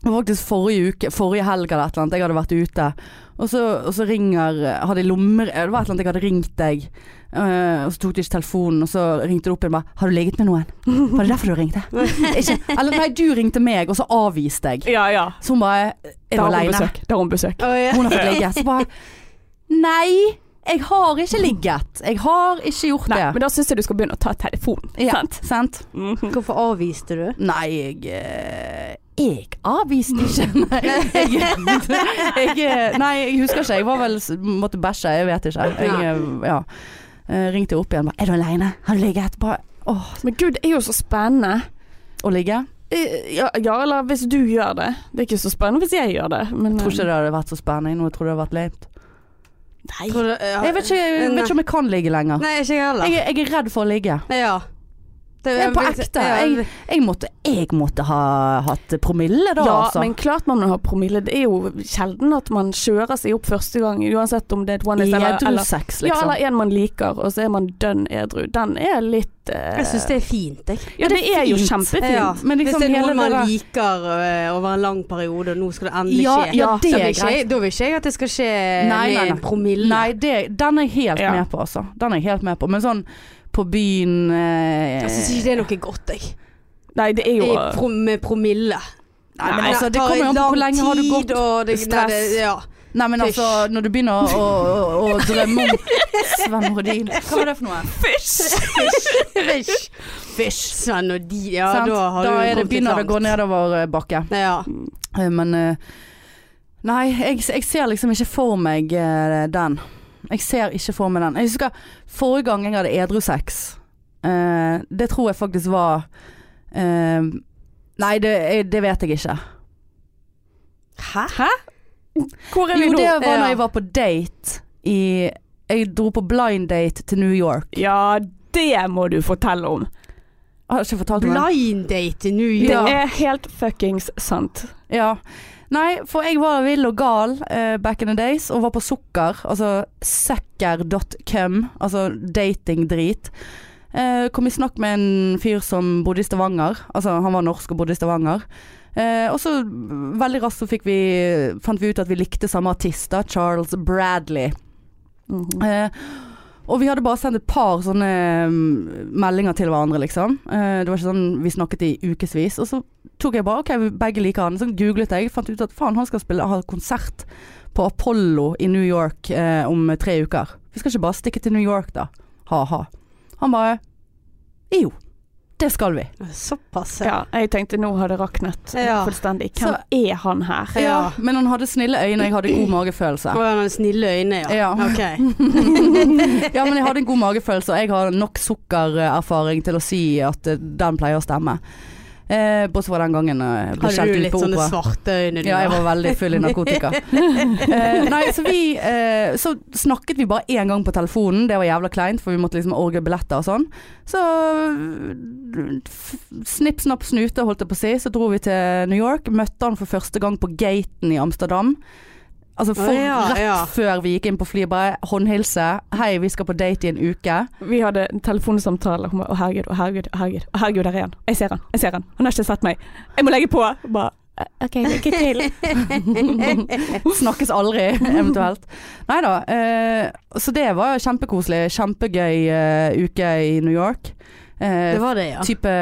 S2: Det var Faktisk forrige uke, forrige helg eller et eller annet, jeg hadde vært ute. Og så, og så ringer Hadde jeg lommer Det var et eller annet jeg hadde ringt deg, eh, og så tok du ikke telefonen, og så ringte du opp igjen og bare 'Har du ligget med noen?' Var det derfor du ringte? Ikke, eller nei, du ringte meg, og så avviste jeg.
S3: Ja ja.
S2: Så hun bare 'Er
S3: Da
S2: du
S3: har hun
S2: aleine?'
S3: besøk. Da har hun besøk.
S1: Å, ja.
S2: Hun har fått ligge. Så bare 'Nei, jeg har ikke ligget. Jeg har ikke gjort
S3: Nei,
S2: det.'
S3: men da syns jeg du skal begynne å ta telefonen.
S2: Ja,
S3: Sant?
S2: sant?
S3: Mhm.
S1: Hvorfor avviste du?
S2: Nei, jeg eh, Jeg avviste ikke. Nei, jeg, jeg, nei, jeg husker ikke. Jeg var vel måtte bæsje, jeg vet ikke. Jeg eh, ja. Eh, ringte opp igjen bare 'Er du aleine? Har du ligget?' Bare åh,
S3: Men gud, det er jo så spennende.
S2: å ligge.
S3: Eh, Ja, ja, eller hvis du gjør det. Det er ikke så spennende hvis jeg gjør det.
S1: Mm.
S2: Jeg
S3: Men, eh,
S2: tror ikke det hadde vært så spennende nå. Jeg tror det hadde vært lame.
S3: Nei.
S1: Tror du- ja. Mm.
S2: Jeg vet ikke, jeg vet ikke om jeg kan ligge lenger.
S1: Nei, ikke jeg heller.
S2: Jeg, er- jeg er redd for å ligge.
S1: Ja. Det,
S2: Ja, på ekte. Jeg, jeg, måtte, jeg måtte ha hatt promille da,
S3: ja,
S2: altså.
S3: men klart man har promille. Det er jo sjelden at man kjører seg opp første gang, uansett om det er et one night eller,
S2: Edru
S3: eller,
S2: sex,
S3: ja,
S2: liksom.
S3: eller en man liker, og så er man dønn edru. Den er litt eh,
S1: jeg syns det er fint, jeg.
S3: Ja, det er jo
S2: fint.
S3: kjempefint.
S1: Ja.
S2: Men
S1: Hvis
S2: liksom
S1: det er
S2: hele
S1: noen man
S2: det der-
S1: liker øh, over en lang periode, og nå skal det endelig
S2: Ja,
S1: skje.
S2: ja,
S3: Ja,
S2: det
S1: da, vil
S2: er
S1: ikke,
S2: greit.
S1: jeg- da vil ikke jeg at det skal skje
S2: Nei,
S1: med
S2: nei, nei.
S1: en promille.
S2: Nei, det, den er jeg helt
S3: Ja.
S2: med på, altså. Den er jeg helt med på. Men sånn på byen eh,
S1: Jeg syns ikke det er noe godt, jeg.
S3: Nei, det er jo eh,
S1: I Pro med promille.
S2: Nei, men
S1: Nei,
S2: altså, det
S1: tar
S2: kommer jo an
S1: lang
S2: på hvor lenge har du
S1: tid,
S2: gått
S1: og det, nei, det,
S3: Stress.
S1: ja.
S2: Nei, men
S1: Fysj.
S2: altså, når du begynner å, å, å, å drømme om Sven Nordin Hva var det for noe? Fysj!
S1: Fysj.
S2: Fysj.
S1: Sven og de, ja
S2: Sant?
S1: da har du
S2: er det,
S1: kommet litt
S2: begynner det å gå
S1: langt.
S2: nedover eh, bakke.
S1: Ja.
S2: Eh, Men eh, Nei, jeg, jeg ser liksom ikke for meg eh, den. Jeg ser ikke for meg den. Jeg husker forrige gang jeg hadde edru sex. eh, det tror jeg faktisk var eh, Nei, det, jeg, det vet jeg ikke.
S1: Hæ?
S3: Hvor er vi
S2: Jo,
S3: nå?
S2: det var
S1: Ja.
S2: når jeg var på date i Jeg dro på blind date til New York.
S3: Ja, det må du fortelle om.
S2: Jeg har ikke fortalt om det.
S1: Blind date i New
S2: Ja.
S1: York.
S3: Det er helt fuckings sant.
S2: Ja. Nei, for jeg var vill og gal eh, back in the days, og var på sukker. Altså sucker.com, altså datingdrit. Eh, kom i snakk med en fyr som bodde i Stavanger. Altså, han var norsk og bodde i Stavanger. Eh, og så mm, veldig raskt så fikk vi, fant vi ut at vi likte samme artist, da, Charles Bradley. Eh, og vi hadde bare sendt et par sånne mm, meldinger til hverandre, liksom. Eh, det var ikke sånn vi snakket i ukevis. Og så tok jeg bare OK, vi begge liker han. Så googlet jeg, fant ut at faen, han skal spille, ha konsert på Apollo i New York eh, om tre uker. Vi skal ikke bare stikke til New York, da. Ha-ha. Han bare Jo, det skal vi.
S1: Såpass, ja.
S3: Ja, jeg tenkte nå har det raknet
S1: Ja.
S3: fullstendig. Hvem er han her?
S1: Ja.
S2: Men han hadde snille øyne, jeg hadde god magefølelse.
S1: Å, han har snille øyne, ja.
S2: Ja.
S1: Ok.
S2: Ja, men jeg hadde en god magefølelse, og jeg har nok sukkererfaring til å si at eh, den pleier å stemme. Eh, bortsett fra den gangen eh, jeg ble
S1: Hadde
S2: skjelt
S1: du
S2: ut
S1: litt
S2: på
S1: sånne
S2: opera.
S1: svarte øyne du
S2: Ja, jeg
S1: har?
S2: var veldig full i narkotika. Eh, nei, så vi eh, Så snakket vi bare én gang på telefonen, det var jævla kleint, for vi måtte liksom orge billetter og sånn. Så f- snipp, snapp, snute, holdt jeg på å si. Så dro vi til New York, møtte han for første gang på gaten i Amsterdam. Altså for,
S1: Å, ja,
S2: rett
S1: ja.
S2: før vi gikk inn på flyet, bare håndhilse. Hei, vi skal på date i en uke.
S3: Vi hadde en telefonsamtale. Hun ba, Å, herregud, å, herregud, å, herregud, å, herregud, der er han. Jeg ser han. jeg ser Han Han har ikke sett meg. Jeg må legge på. Bare, «Eh, OK, lykke til.
S2: Snakkes aldri, eventuelt. Nei da. Eh, så det var kjempekoselig. Kjempegøy eh, uke i New York. Eh,
S1: Det var det, ja.
S2: type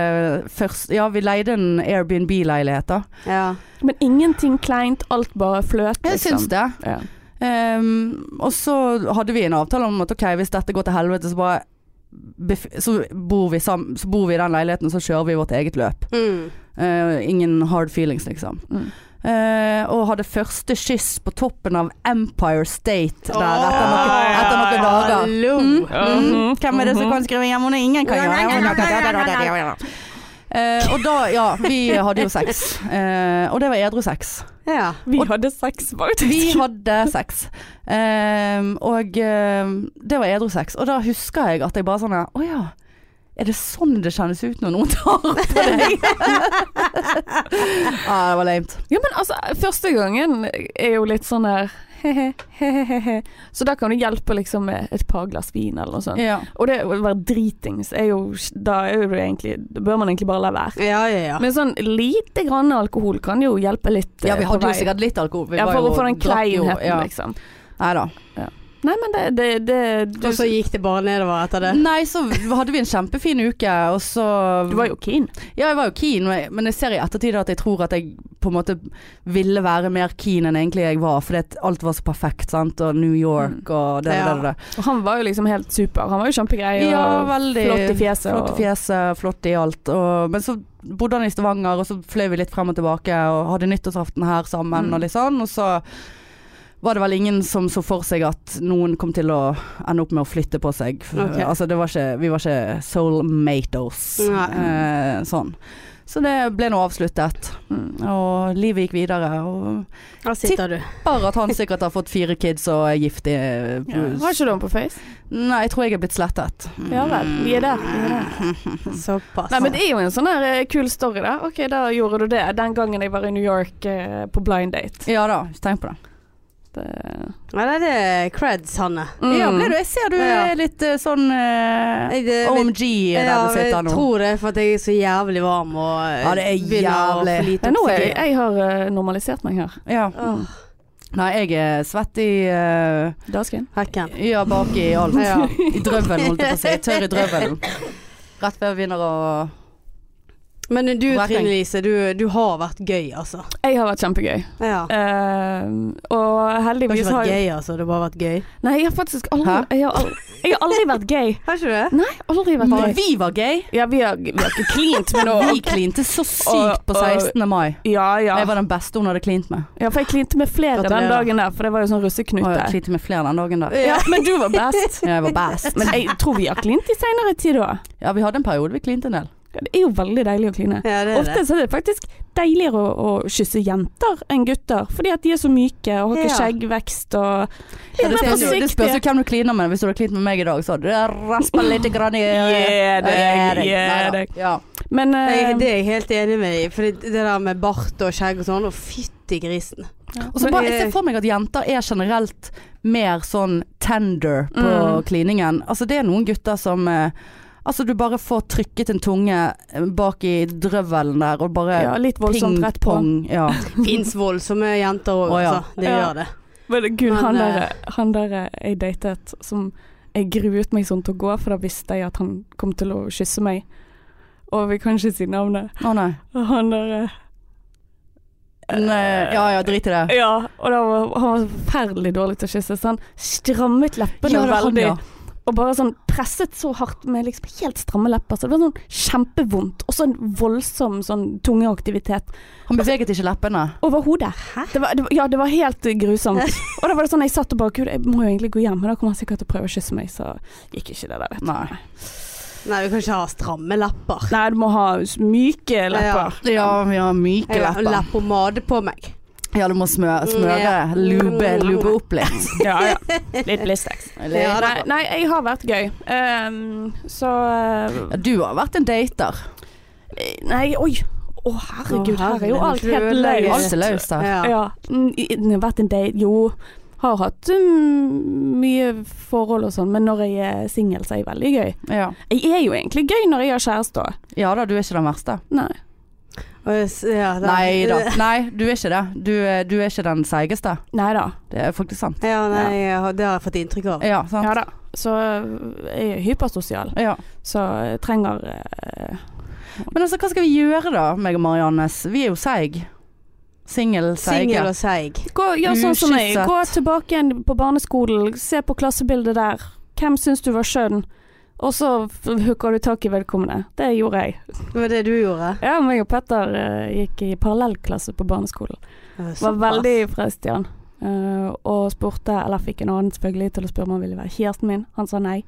S2: først Ja, vi leide en Airbnb-leilighet, da.
S1: ja.
S3: Men ingenting kleint, alt bare fløt. liksom.
S2: Jeg syns det.
S3: Ja.
S2: liksom. Ehm, og så hadde vi en avtale om at ok, hvis dette går til helvete, så bare bef så, bor vi sam så bor vi i den leiligheten, så kjører vi vårt eget løp.
S1: Mm.
S2: Eh, ingen hard feelings, liksom.
S3: Mm.
S2: Eh, og hadde første kyss på toppen av Empire State der
S1: Åh,
S2: etter noen, etter noen
S1: ja,
S2: dager.
S1: Hallo.
S2: Mm, mm.
S3: Mhm.
S2: Hvem er det som kan skrive hjemme? Ingen kan gjøre det. Eh, og da, ja, vi hadde jo sex. Eh, og det var edru sex.
S1: Ja.
S3: Vi
S2: Og-
S3: hadde sex, faktisk.
S2: Vi hadde sex. Eh, og eh, det var edru sex. Og da husker jeg at jeg bare sånn Å ja. Er det sånn det kjennes ut når noen tar på deg? Ja, det var lame.
S1: Sånn.
S3: Ja, men altså, første gangen er jo litt sånn der he-he, he-he-he. Så da kan du hjelpe liksom med et par glass vin eller noe sånt.
S2: Ja.
S3: Og det å være dritings er jo Da er jo det egentlig Da bør man egentlig bare la være.
S1: Ja, ja, ja.
S3: Men sånn lite grann alkohol kan jo hjelpe litt. eh,
S2: ja, vi
S3: på
S2: hadde jo
S3: vei.
S2: sikkert litt alkohol. Vi
S3: Ja,
S2: var
S3: for å
S2: jo-
S3: få den
S2: drakk jo-
S3: kleinheten,
S2: ja.
S3: liksom.
S2: Nei da.
S3: Nei, men det, det, det du,
S1: Og så gikk det bare nedover etter det.
S2: Nei, så hadde vi en kjempefin uke, og så
S3: du var jo keen.
S2: Ja, jeg var jo keen, men jeg- men jeg ser i ettertid at jeg tror at jeg på en måte ville være mer keen enn egentlig jeg var, fordi at alt var så perfekt, sant, og New York
S3: Mm.
S2: og det
S1: Ja.
S2: og det, det, det.
S3: Og han var jo liksom helt super. Han var jo kjempegrei og
S2: Ja, veldig
S3: flott i fjeset.
S2: Flott i fjeset, flott i alt. Og, men så bodde han i Stavanger, og så fløy vi litt frem og tilbake, og hadde nyttårsaften her sammen
S3: Mm.
S2: og litt sånn, og så var det vel ingen som så for seg at noen kom til å ende opp med å flytte på seg. For,
S1: Ok.
S2: Altså, det var ikke, vi var ikke soulmatos.
S1: Nei.
S2: Eh, sånn. Så det ble nå avsluttet.
S3: Mm.
S2: Og livet gikk videre. Og
S1: Her sitter du.
S2: bare at han sikkert har fått fire kids og er gift i
S3: Ja. Har ikke du han på face?
S2: Nei, jeg tror jeg er blitt slettet.
S3: Ja vel. Vi er der. Vi er der.
S1: Såpass.
S3: Mm. Nei, men det er jo en sånn her eh, kul story, da. Ok, da gjorde du det den gangen jeg var i New York eh, på blind date.
S2: Ja da, tenk på det.
S3: Det,
S1: Nei, det er creds, Hanne.
S3: Mm.
S2: Ja, ble du? Jeg ser du
S1: Ja.
S2: er litt eh, sånn eh,
S1: Jeg, det er litt-
S2: OMG der du sitter
S1: jeg
S2: nå.
S1: tror det, for at jeg er så jævlig varm og eh,
S2: Ja, det er jævlig.
S1: å få lite
S3: Nei, nå er jeg,
S1: oksygen.
S3: jeg har eh, normalisert meg her.
S2: Ja.
S1: Åh,
S2: Nei, jeg er svett i eh,
S3: Dasken.
S1: Hekken.
S2: Ja, bak i alt.
S1: Ja.
S2: I drøvelen, holdt jeg på å si. Tørr i drøvelen. Rett før jeg begynner å
S1: Men du
S2: Hva er
S1: Trine
S2: poeng?
S1: Lise, du, du har vært gøy, altså.
S3: Jeg har vært kjempegøy.
S1: Ja.
S3: Eh, og
S1: Du har
S3: heldigvis
S1: ikke
S3: har
S1: vært
S3: jeg
S1: gay, altså. Det har bare vært gøy.
S3: Nei, jeg har faktisk aldri,
S2: Hæ?
S3: jeg har aldri, jeg har aldri vært gay.
S1: Har ikke du det?
S3: Nei, aldri vært
S2: Men
S3: gay.
S2: vi var gay.
S3: Ja, vi har, vi har ikke klint, men nå
S2: Vi klinte så sykt
S3: Og-
S2: på
S3: og-
S2: 16. mai.
S3: Ja, ja.
S2: Jeg var den beste hun hadde klint med.
S3: ja. For jeg klinte med flere den
S1: Gratulerer.
S3: dagen der, for det var jo sånn
S2: Og jeg
S3: russeknute.
S2: klinte med flere den dagen der.
S3: Ja, men du var best.
S2: Jeg var best.
S3: Men jeg tror vi har klint i seinere tid òg.
S2: Ja, vi hadde en periode vi klinte en del.
S3: Ja, det er jo veldig deilig å kline.
S1: Ja, det er det.
S3: Ofte så er det faktisk deiligere å, å kysse jenter enn gutter, fordi at de er så myke og har ikke
S1: Ja.
S3: skjeggvekst og
S2: Ja, det,
S3: Litt
S2: spørs jo,
S3: mer
S2: det spørs jo
S3: forsiktige.
S2: hvem du kliner med. Hvis du hadde klint med meg i dag, så hadde du raspa litt grann i
S3: Yeah, Eh, deg, yeah,
S2: Neida.
S3: deg.
S2: Ja.
S3: Men eh,
S1: Jeg, det er jeg helt enig med deg i. For det, det der med bart og skjegg og sånn, og fytti grisen.
S2: Og så
S1: Men
S2: bare,
S1: jeg-
S2: jeg ser for meg at jenter er generelt mer sånn tender på
S3: Mm.
S2: kliningen. Altså det er noen gutter som eh, Altså du bare får trykket en tunge eh, bak i drøvelen der og bare
S3: ja, litt voldsomt rett på.
S2: ping-pong. Ja.
S1: Fins voldsomme jenter òg,
S2: Å, ja.
S1: altså. Det
S3: Ja.
S1: gjør det.
S3: Men gud,
S1: Men,
S3: han,
S1: eh,
S3: der, han der jeg datet, som jeg gruet meg sånn til å gå, for da visste jeg at han kom til å kysse meg. Og vi kan ikke si navnet.
S2: Å nei.
S3: Og han der eh,
S2: nei. Ja ja, drit i det.
S3: Ja, og da var, han var forferdelig dårlig til å kysse, så han strammet leppene
S2: Ja, det er han,
S3: veldig.
S2: ja.
S3: Og bare sånn presset så hardt med liksom helt stramme lepper, så det var sånn kjempevondt. Og så en voldsom sånn tungeaktivitet
S2: Han beveget ikke leppene.
S3: over hodet. Det var, det var, ja, det var helt eh, grusomt. Og da var det sånn jeg satt og bare Gud, jeg må jo egentlig gå hjem, men da kommer han sikkert til å prøve å kysse meg, så gikk ikke det der, vet du.
S2: Nei.
S1: Nei, du kan ikke ha stramme lepper.
S3: Nei, du må ha s- myke lepper.
S2: Ja, vi har myke
S1: Jeg har
S2: lepper.
S1: leppepomade på meg.
S2: Ja, du må smøre, smøre
S1: Ja.
S2: lube, lube opp litt.
S3: Ja, ja. Litt blistex.
S1: Ja,
S3: Nei,
S1: da.
S3: nei, jeg har vært gøy. Ehm, så eh,
S2: Ja, Du har vært en dater.
S3: Nei, oi. Å, herregud.
S1: Å,
S3: Her er jo
S1: herregud,
S3: alt
S1: du
S3: helt
S1: ødelegger.
S3: løst.
S2: Alt er løst her.
S1: Ja.
S3: Ja. mm, i- i- Vært en date Jo, har hatt mm, mye forhold og sånn, men når jeg er singel, så er jeg veldig gøy.
S2: Ja.
S3: Jeg er jo egentlig gøy når jeg har kjæreste òg.
S2: ja da, du er ikke den verste.
S3: Nei.
S1: Og jeg s- ja, da-
S2: Nei da. Nei, du er ikke det. Du er, du er ikke den seigeste.
S3: Nei da.
S2: Det er faktisk sant.
S1: Ja, nei, jeg har- det har jeg fått inntrykk av.
S2: Ja, sant.
S3: Ja da. Så øh, jeg er hypersosial,
S2: Ja.
S3: så jeg trenger eh,
S2: Men altså, hva skal vi gjøre da, meg og Mariannes? Vi er jo seig. Singel,
S1: Singel
S2: seige.
S1: og seig.
S3: Gå, gjør sånn som meg.
S2: Ukysset.
S3: Gå tilbake igjen på barneskolen, se på klassebildet der. Hvem syns du var skjønn? Og så f- hooker du tak i vedkommende. Det gjorde jeg.
S1: Det var det du gjorde.
S3: Ja, meg og Petter eh, gikk i parallellklasse på barneskolen. Var veldig frelst i han. eh, og spurte, eller fikk en annen selvfølgelig til å spørre om han ville være kjæresten min. Han sa nei.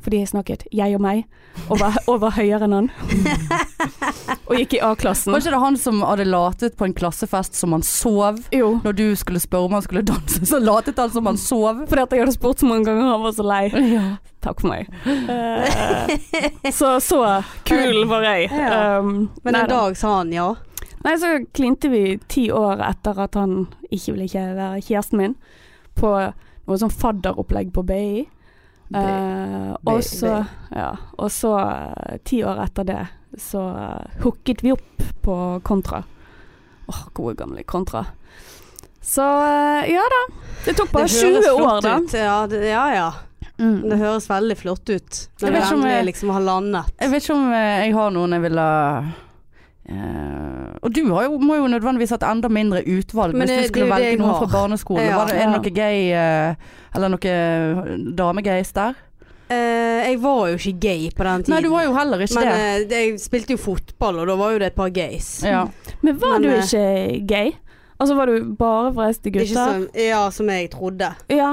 S3: Fordi jeg snakket jeg og meg, og var, og var høyere enn han. og gikk i A-klassen.
S2: Var ikke det han som hadde latet på en klassefest som han sov?
S3: Jo.
S2: Når du skulle spørre om han skulle danse, så latet han som han sov.
S3: Fordi at jeg hadde spurt så mange ganger, og han var så lei. Takk for meg. Eh, så så kul var jeg.
S1: Ja.
S3: Um,
S1: Men
S3: nei
S1: en
S3: da.
S1: dag sa han ja.
S3: Nei, så klinte vi ti år etter at han ikke ville ikke være kjæresten min, på noe sånn fadderopplegg på BI. Eh, og så, ja, og så eh, ti år etter det, så eh, hooket vi opp på Kontra. Åh, gode gamle Kontra. Så eh, ja da. Det tok bare
S1: Det høres
S3: 20 år,
S1: flott
S3: da.
S1: ut. Ja, det, ja, ja.
S2: Mm.
S1: Det høres veldig flott ut. Når du
S2: Jeg vet ikke om
S1: endelig
S2: jeg-
S1: liksom har landet.
S2: Jeg vet ikke om eh, jeg har noen jeg ville eh, Og du har jo, må jo nødvendigvis ha et enda mindre utvalg
S1: Men det-
S2: hvis du skulle
S1: det er jo det
S2: velge
S1: jeg
S2: noen
S1: har.
S2: fra barneskolen.
S1: Ja.
S2: Var det, er det
S3: Ja.
S2: noe gay eh, eller noe damegays der?
S1: Eh, jeg var jo ikke gay på den tiden.
S2: Nei, du var jo heller ikke
S1: Men
S2: det.
S1: eh, det- jeg spilte jo fotball, og da var jo det et par gays.
S2: ja.
S3: Men var
S1: Men,
S3: du
S1: eh,
S3: ikke gay? Altså var du bare forelsket i
S1: Ikke
S3: gutter?
S1: som, ja, som jeg trodde.
S3: Ja.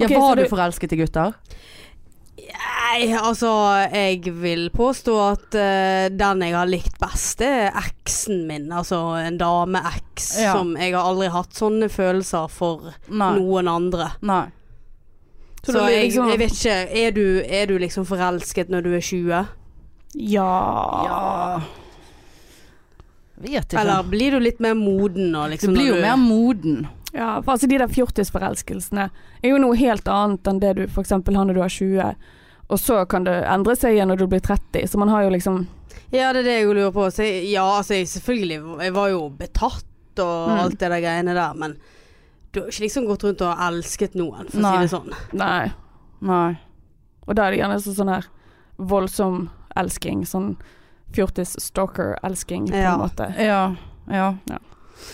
S3: Ok,
S2: ja,
S3: så
S2: var du
S3: du-
S2: forelsket i gutter?
S1: Nei, altså Jeg vil påstå at eh, den jeg har likt best, det er eksen min. Altså en dame-eks
S2: Ja.
S1: som jeg har aldri hatt sånne følelser for
S2: Nei.
S1: noen andre.
S2: Nei.
S1: Så,
S3: Så du blir
S1: jeg,
S3: liksom-
S1: jeg vet ikke er du, er du liksom forelsket når du er 20?
S3: Ja.
S2: Ja Vet ikke.
S1: Eller blir du litt mer moden nå,
S2: du
S1: liksom?
S2: blir jo
S1: når
S2: mer moden.
S3: Ja, for altså De der fjortisforelskelsene er jo noe helt annet enn det du f.eks. har når du er 20. Og så kan det endre seg igjen når du blir 30, så man har jo liksom
S1: Ja, det er det jeg lurer på. Så jeg, ja, altså, jeg, selvfølgelig. Jeg var jo betatt og
S3: Mm.
S1: alt det der greiene der, men du har ikke liksom gått rundt og elsket noen, for
S2: Nei.
S1: å si det sånn.
S3: Nei.
S2: Nei.
S3: Og da er det gjerne så sånn her voldsom elsking. Sånn fjortis-stalker-elsking, på
S1: Ja.
S3: en måte.
S2: Ja. ja.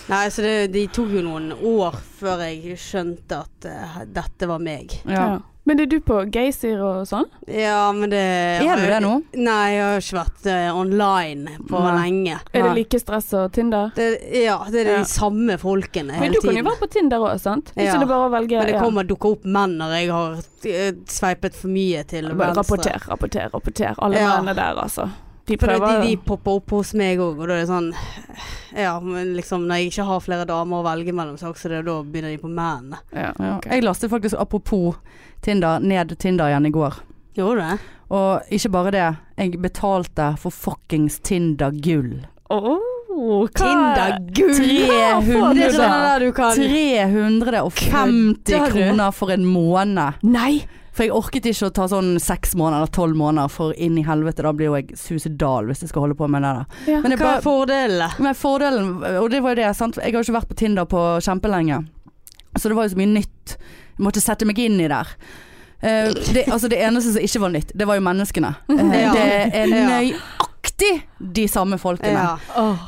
S1: Nei, så det, de tok jo noen år før jeg skjønte at eh, dette var meg.
S2: ja.
S3: Ja. Men er du på Geysir og sånn?
S1: Ja, men det
S2: Er du det nå?
S1: Nei, jeg har ikke vært eh, online på
S2: Nei.
S1: lenge.
S3: Er det
S2: Nei.
S3: like stress og Tinder?
S1: Det, ja, det er de
S3: Ja.
S1: samme folkene
S3: Men
S1: hele
S3: du kan jo
S1: tiden.
S3: være på Tinder òg, sant? Hvis
S1: Ja.
S3: det bare å velge
S1: Men det
S3: ja.
S1: kommer dukke opp menn når jeg har eh, sveipet for mye til
S3: Bare
S1: venstre.
S3: Rapporter, rapporter, rapporter. Alle
S1: Ja.
S3: mennene der, altså. De
S1: For
S3: prøver
S1: de, de
S3: jo.
S1: popper opp hos meg òg, og da er det sånn Ja, men liksom når jeg ikke har flere damer å velge mellom, så er også det, da begynner de på mennene.
S3: Ja,
S2: Ja.
S3: ok.
S2: Jeg lastet faktisk apropos Tinder ned Tinder igjen i går.
S1: Gjorde du det?
S2: Og ikke bare det, jeg betalte for fuckings Tinder gull.
S3: Åh, hva-
S1: Tinder-gull!
S3: Hva
S1: Det
S3: får du
S1: er
S3: da?
S1: sånn der du kan
S2: 350
S1: Kødder du?
S2: kroner for en måned.
S3: Nei!
S2: For jeg orket ikke å ta sånn seks måneder eller tolv måneder, for inn i helvete, da blir jo jeg suicidal hvis jeg skal holde på med det der.
S3: Ja.
S2: Men, jeg
S1: Hva er
S2: bare,
S1: fordelene?
S2: men fordelen, og det var jo det, sant. Jeg har jo ikke vært på Tinder på kjempelenge. Så det var jo så mye nytt. Jeg måtte sette meg inn i der. Eh, det, altså det eneste som ikke var nytt, det var jo menneskene. Eh,
S1: Ja.
S2: Det er
S1: Ja.
S2: nøyaktig de samme folkene.
S1: Ja.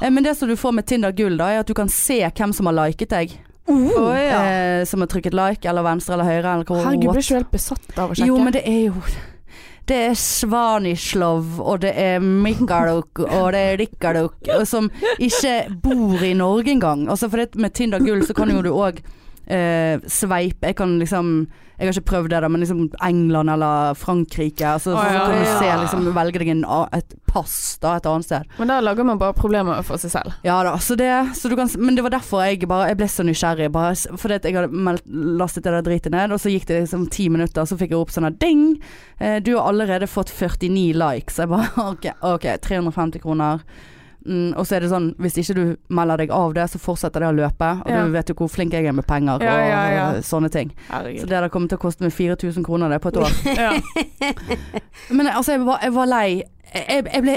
S2: Eh, Men det som du får med Tinder Gull, da, er at du kan se hvem som har liket deg.
S1: Å, ja.
S2: eh, som har trykket like, eller venstre eller høyre, eller hvor
S3: Herregud,
S2: what.
S3: blir ikke du helt besatt av å sjekke?
S2: Jo, men det er jo Det er Svanislov, og det er Mikkaluk, og det er Rikkaluk, og som ikke bor i Norge engang. Altså, for det med Tinder Gull så kan jo du òg eh, sveipe Jeg kan liksom Jeg har ikke prøvd det, da, men liksom England eller Frankrike. Altså,
S3: Å,
S2: så
S3: ja,
S2: kan du
S1: ja.
S2: se liksom Velge deg en, a- et pass da, et annet sted.
S3: Men da lager man bare problemer for seg selv.
S2: Ja da, så det, så du kan, s- men det var derfor jeg bare Jeg ble så nysgjerrig. Bare, s- fordi at jeg hadde meldt, lastet det der dritet ned, og så gikk det liksom ti minutter, så fikk jeg opp sånn her ding. Eh, du har allerede fått 49 likes. Jeg bare OK, ok, 350 kroner. Mm, og så er det sånn, hvis ikke du melder deg av det, så fortsetter det å løpe. Og
S3: Ja.
S2: du vet jo hvor flink jeg er med penger
S3: Ja,
S2: og,
S3: ja, ja.
S2: og sånne ting. Så
S3: Herregud.
S2: det der kommer til å koste meg 4000 kroner det på et år.
S3: Ja.
S2: Men altså, jeg var, jeg var lei. Jeg, jeg ble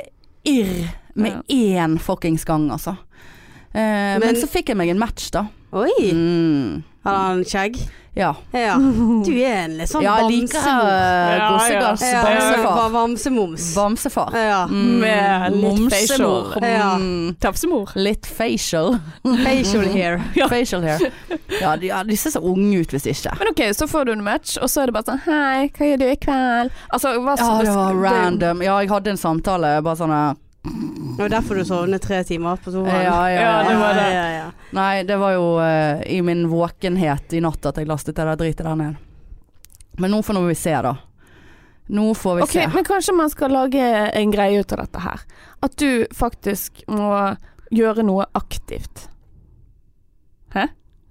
S2: irr med én fuckings gang, altså. Eh, men,
S1: Men-
S2: så fikk jeg meg en match, da.
S1: Oi!
S2: Mm.
S1: Har han skjegg?
S2: Ja.
S1: Ja.
S3: Mm.
S1: Du er en litt sånn
S2: ja, jeg liker
S1: bamsemor.
S2: eh,
S3: Ja, ja.
S2: gossegass.
S1: Ja,
S2: Bamsefar.
S1: ba- Bamsemums.
S2: Bamsefar.
S1: Ja.
S2: Mm.
S3: Med litt
S2: Momsemor.
S3: facial.
S1: Ja.
S2: Mm.
S3: Tafsemor.
S2: Litt facial.
S1: Facial hair.
S2: Facial hair. Ja, de, ja, de ser så unge ut hvis ikke.
S3: Men ok, så får du en match, og så er det bare sånn Hei, hva gjør du i kveld? Altså, hva
S2: Ja, det var
S3: det-
S2: random. Ja, jeg hadde en samtale, bare sånn eh,
S1: Det var derfor du sovnet tre timer på sofaen.
S2: ja, ja,
S3: Ja, det var det.
S1: Ja, ja, ja.
S2: Nei, det var jo eh, i min våkenhet i natt at jeg lastet det der dritet der ned. Men nå får nå vi se, da. Nå får vi
S3: Ok, men kanskje man skal lage en greie ut av dette her. At du faktisk må gjøre noe aktivt.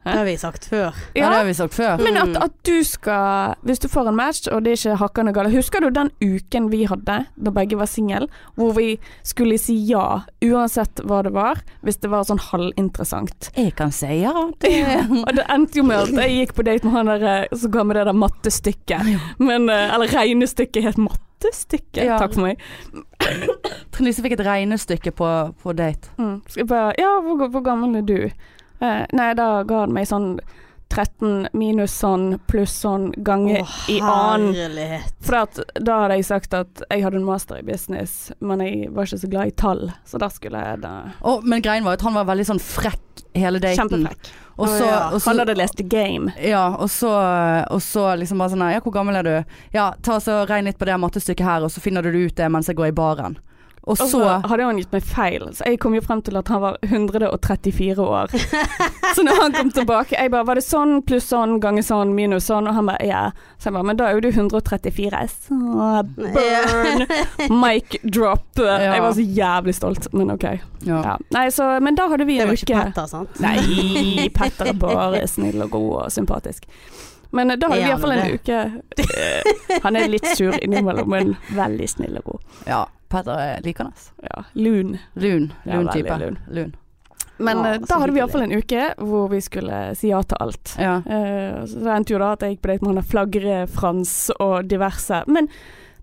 S1: Det har vi sagt før.
S2: se. Ja, det har vi sagt før.
S3: Men at,
S1: Mm.
S3: at du skal Hvis du får en match, og det er ikke hakkende gale Husker du den uken vi hadde, da begge var single, hvor vi skulle si ja uansett hva det var, hvis det var sånn halvinteressant?
S2: Jeg kan si ja.
S3: Og det endte jo med at jeg gikk på date med han der eh, som ga meg det der mattestykket. Men, eh, eller regnestykket het mattestykke.
S2: Ja.
S3: Takk for meg.
S2: Trine Lise fikk et regnestykke på, på date.
S3: Mm. Skal jeg bare Ja, hvor, hvor gammel er du? Eh, nei, da ga han meg sånn 13 minus sånn pluss sånn gange i annen.
S1: herlighet.
S3: For at, da hadde jeg sagt at jeg hadde en master i business, men jeg var ikke så glad i tall, så da skulle jeg da
S2: Og, men greien var at han var veldig sånn frekk hele daten.
S3: Kjempefrekk.
S2: Og så,
S1: Å, ja.
S2: og så
S3: Han hadde lest The Game.
S2: Ja, og så, og så liksom bare sånn Ja, hvor gammel er du? Ja, ta så regn litt på det mattestykket her, og så finner du det ut det mens jeg går i baren. Og
S3: Og så
S2: så
S3: hadde han gitt meg feil, så jeg kom jo frem til at han var 134 år. så når han kom tilbake, jeg bare Var det sånn pluss sånn ganger sånn minus sånn? Og han bare ja. Så jeg bare Men da er jo du 134. Så burn! Mic drop.
S2: Ja.
S3: Jeg var så jævlig stolt, men OK.
S2: ja.
S3: Ja. Nei, så Men da hadde vi
S1: Det
S3: en
S1: var ikke
S3: uke.
S1: Petter, sant?
S3: Nei, Petter er bare snill og god og sympatisk. Men eh, da har vi
S1: Ja,
S3: iallfall
S1: men
S3: en uke eh, Han er litt sur innimellom, men veldig snill og god.
S2: ja. Petter er likende.
S3: Ja, lun.
S2: Lun.
S3: Ja,
S2: Lun
S3: veldig
S2: type.
S3: lun.
S2: lun.
S3: Men
S1: Å,
S3: eh,
S1: så
S3: da hadde vi
S1: altså hyggelig.
S3: iallfall en uke hvor vi skulle si ja til alt.
S2: Ja.
S3: Eh, så det endte jo da at jeg gikk på date med han der Flagre-Frans og diverse. Men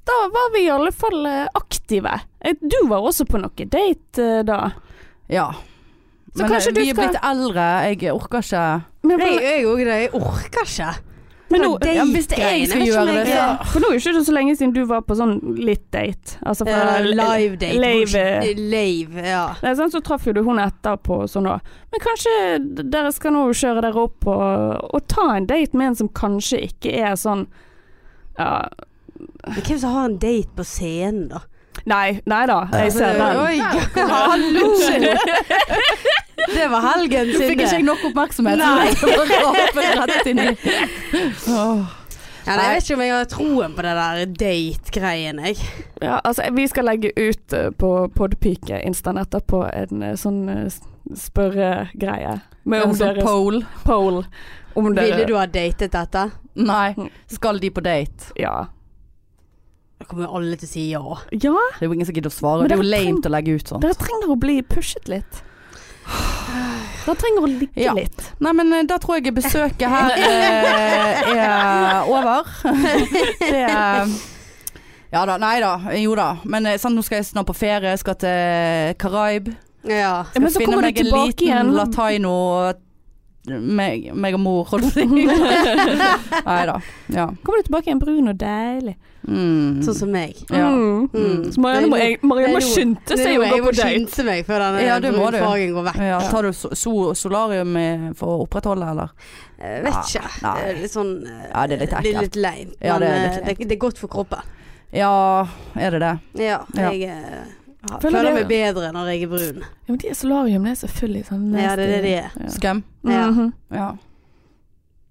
S3: da var vi i alle fall eh, aktive. Eh, Du var også på noe date eh, da.
S2: ja.
S3: Så kanskje
S2: eh,
S3: du
S2: vi er
S3: skal-
S2: blitt eldre, jeg orker ikke
S3: Men
S1: Nei,
S3: hvordan-
S1: jeg òg det. Jeg orker ikke.
S3: Men
S1: Ja,
S3: nå,
S1: det-
S2: Ja, men hvis det er
S1: Date-greiene,
S2: jeg skal
S1: vet ikke om
S2: gjøre det,
S1: jeg-
S2: så
S1: Ja.
S3: for nå er jo ikke det så lenge siden du var på sånn litt date. Altså fra
S1: Eh, live date.
S3: Lave.
S1: Lave, ja.
S3: Nei, sant, så traff jo du hun etterpå og sånn da. Men kanskje d- dere skal nå kjøre dere opp og, og ta en date med en som kanskje ikke er sånn ja,
S1: Men hvem som har en date på scenen, da?
S3: Nei, nei da, jeg ser den.
S1: Oi, hallo! Det var helgens
S2: fikk ikke jeg
S1: inne.
S2: nok oppmerksomhet.
S1: Nei.
S2: Så jeg bare rapet rett inn i Åh.
S1: Ja, nei, jeg vet ikke om jeg har troen på det der date-greien, jeg.
S3: Ja, altså, vi skal legge ut eh, på Podpike Instaen etterpå en eh, sånn eh, s- spørregreie. Med om
S2: En sånn
S3: deres
S2: poll.
S3: poll. Om dere
S1: Ville du ha datet dette?
S2: Nei. Skal de på date?
S3: Ja.
S1: Da kommer jo alle til å si ja.
S3: ja,
S2: Det er jo ingen som gidder å svare.
S3: Men
S2: Det er jo
S3: dere
S2: lame å legge ut sånn.
S3: dere trenger å bli pushet litt. Dere trenger å ligge
S2: Ja.
S3: litt.
S2: Nei, men eh, da tror jeg besøket her eh, er over. Det er Ja da, nei da, jo da. Men eh, sant, nå skal jeg snart på ferie, jeg skal til Karaib.
S1: Ja.
S3: Ja, men så
S2: Finne
S3: kommer du
S2: meg en
S3: tilbake
S2: liten
S3: igjen.
S2: Lataino meg, meg og mor, holdt jeg på å si. Nei da. Ja.
S3: Kommer du tilbake igjen brun og deilig.
S2: Mm.
S1: Sånn som meg.
S2: Ja.
S3: Mm.
S1: Mm.
S3: Så Marianne må, jeg, Marianne må
S1: Det er jo-
S3: skynde
S1: Nei,
S3: seg å
S1: nå,
S3: gå
S1: jeg må
S3: på date.
S1: skynde meg før den
S2: Ja, det må du.
S1: brunfargen går vekk.
S2: Ja, tar du so so solarium i- for å opprettholde, eller?
S1: Eh, vet ikke.
S2: Nei.
S1: Det er litt sånn eh,
S2: Ja, det er litt ekkelt.
S1: leint.
S2: Ja,
S1: men
S2: det er litt
S1: eh, det, det er godt for kroppen.
S2: Ja, er det det?
S1: Ja,
S2: Ja.
S1: jeg eh, har-
S3: Føler
S1: føler,
S3: du-
S1: meg bedre når jeg er brun.
S3: Ja, men de er solarium, det er selvfølgelig sånn
S1: Ja, det er det de er.
S2: Skum?
S1: Ja.
S3: Mhm.
S2: Ja.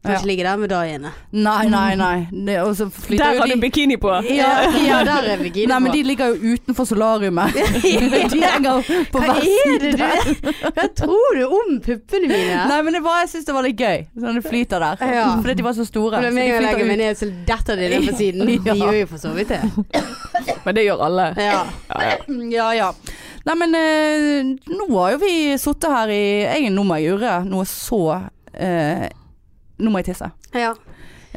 S1: Kan
S2: Ja.
S1: ikke ligge der med dagene.
S2: Nei, nei, nei. Det, og så flyter
S3: Der
S2: jo
S3: har du
S2: de
S3: bikini på.
S1: Ja, ja, der er bikini
S2: Nei, men
S1: på.
S2: de ligger jo utenfor solariumet. De henger på
S1: Hva
S2: hver
S1: er det du Hva tror du om puppene mine?
S2: Nei, men det var, jeg syns det var litt gøy. Sånn det flyter der.
S1: Ja.
S2: Fordi de var så store.
S1: Men
S2: så
S1: med en
S2: de
S1: gang jeg
S2: flyter
S1: legger meg
S2: ut.
S1: ned, så detter de ned på siden. De
S2: Ja.
S1: gjør jo for så vidt det.
S3: Men det gjør alle.
S1: Ja.
S2: Ja, ja. Nei, men eh, nå har jo vi sittet her i jeg, Nå må jeg gjøre noe så eh, Nå må jeg tisse. Eh,
S1: ja.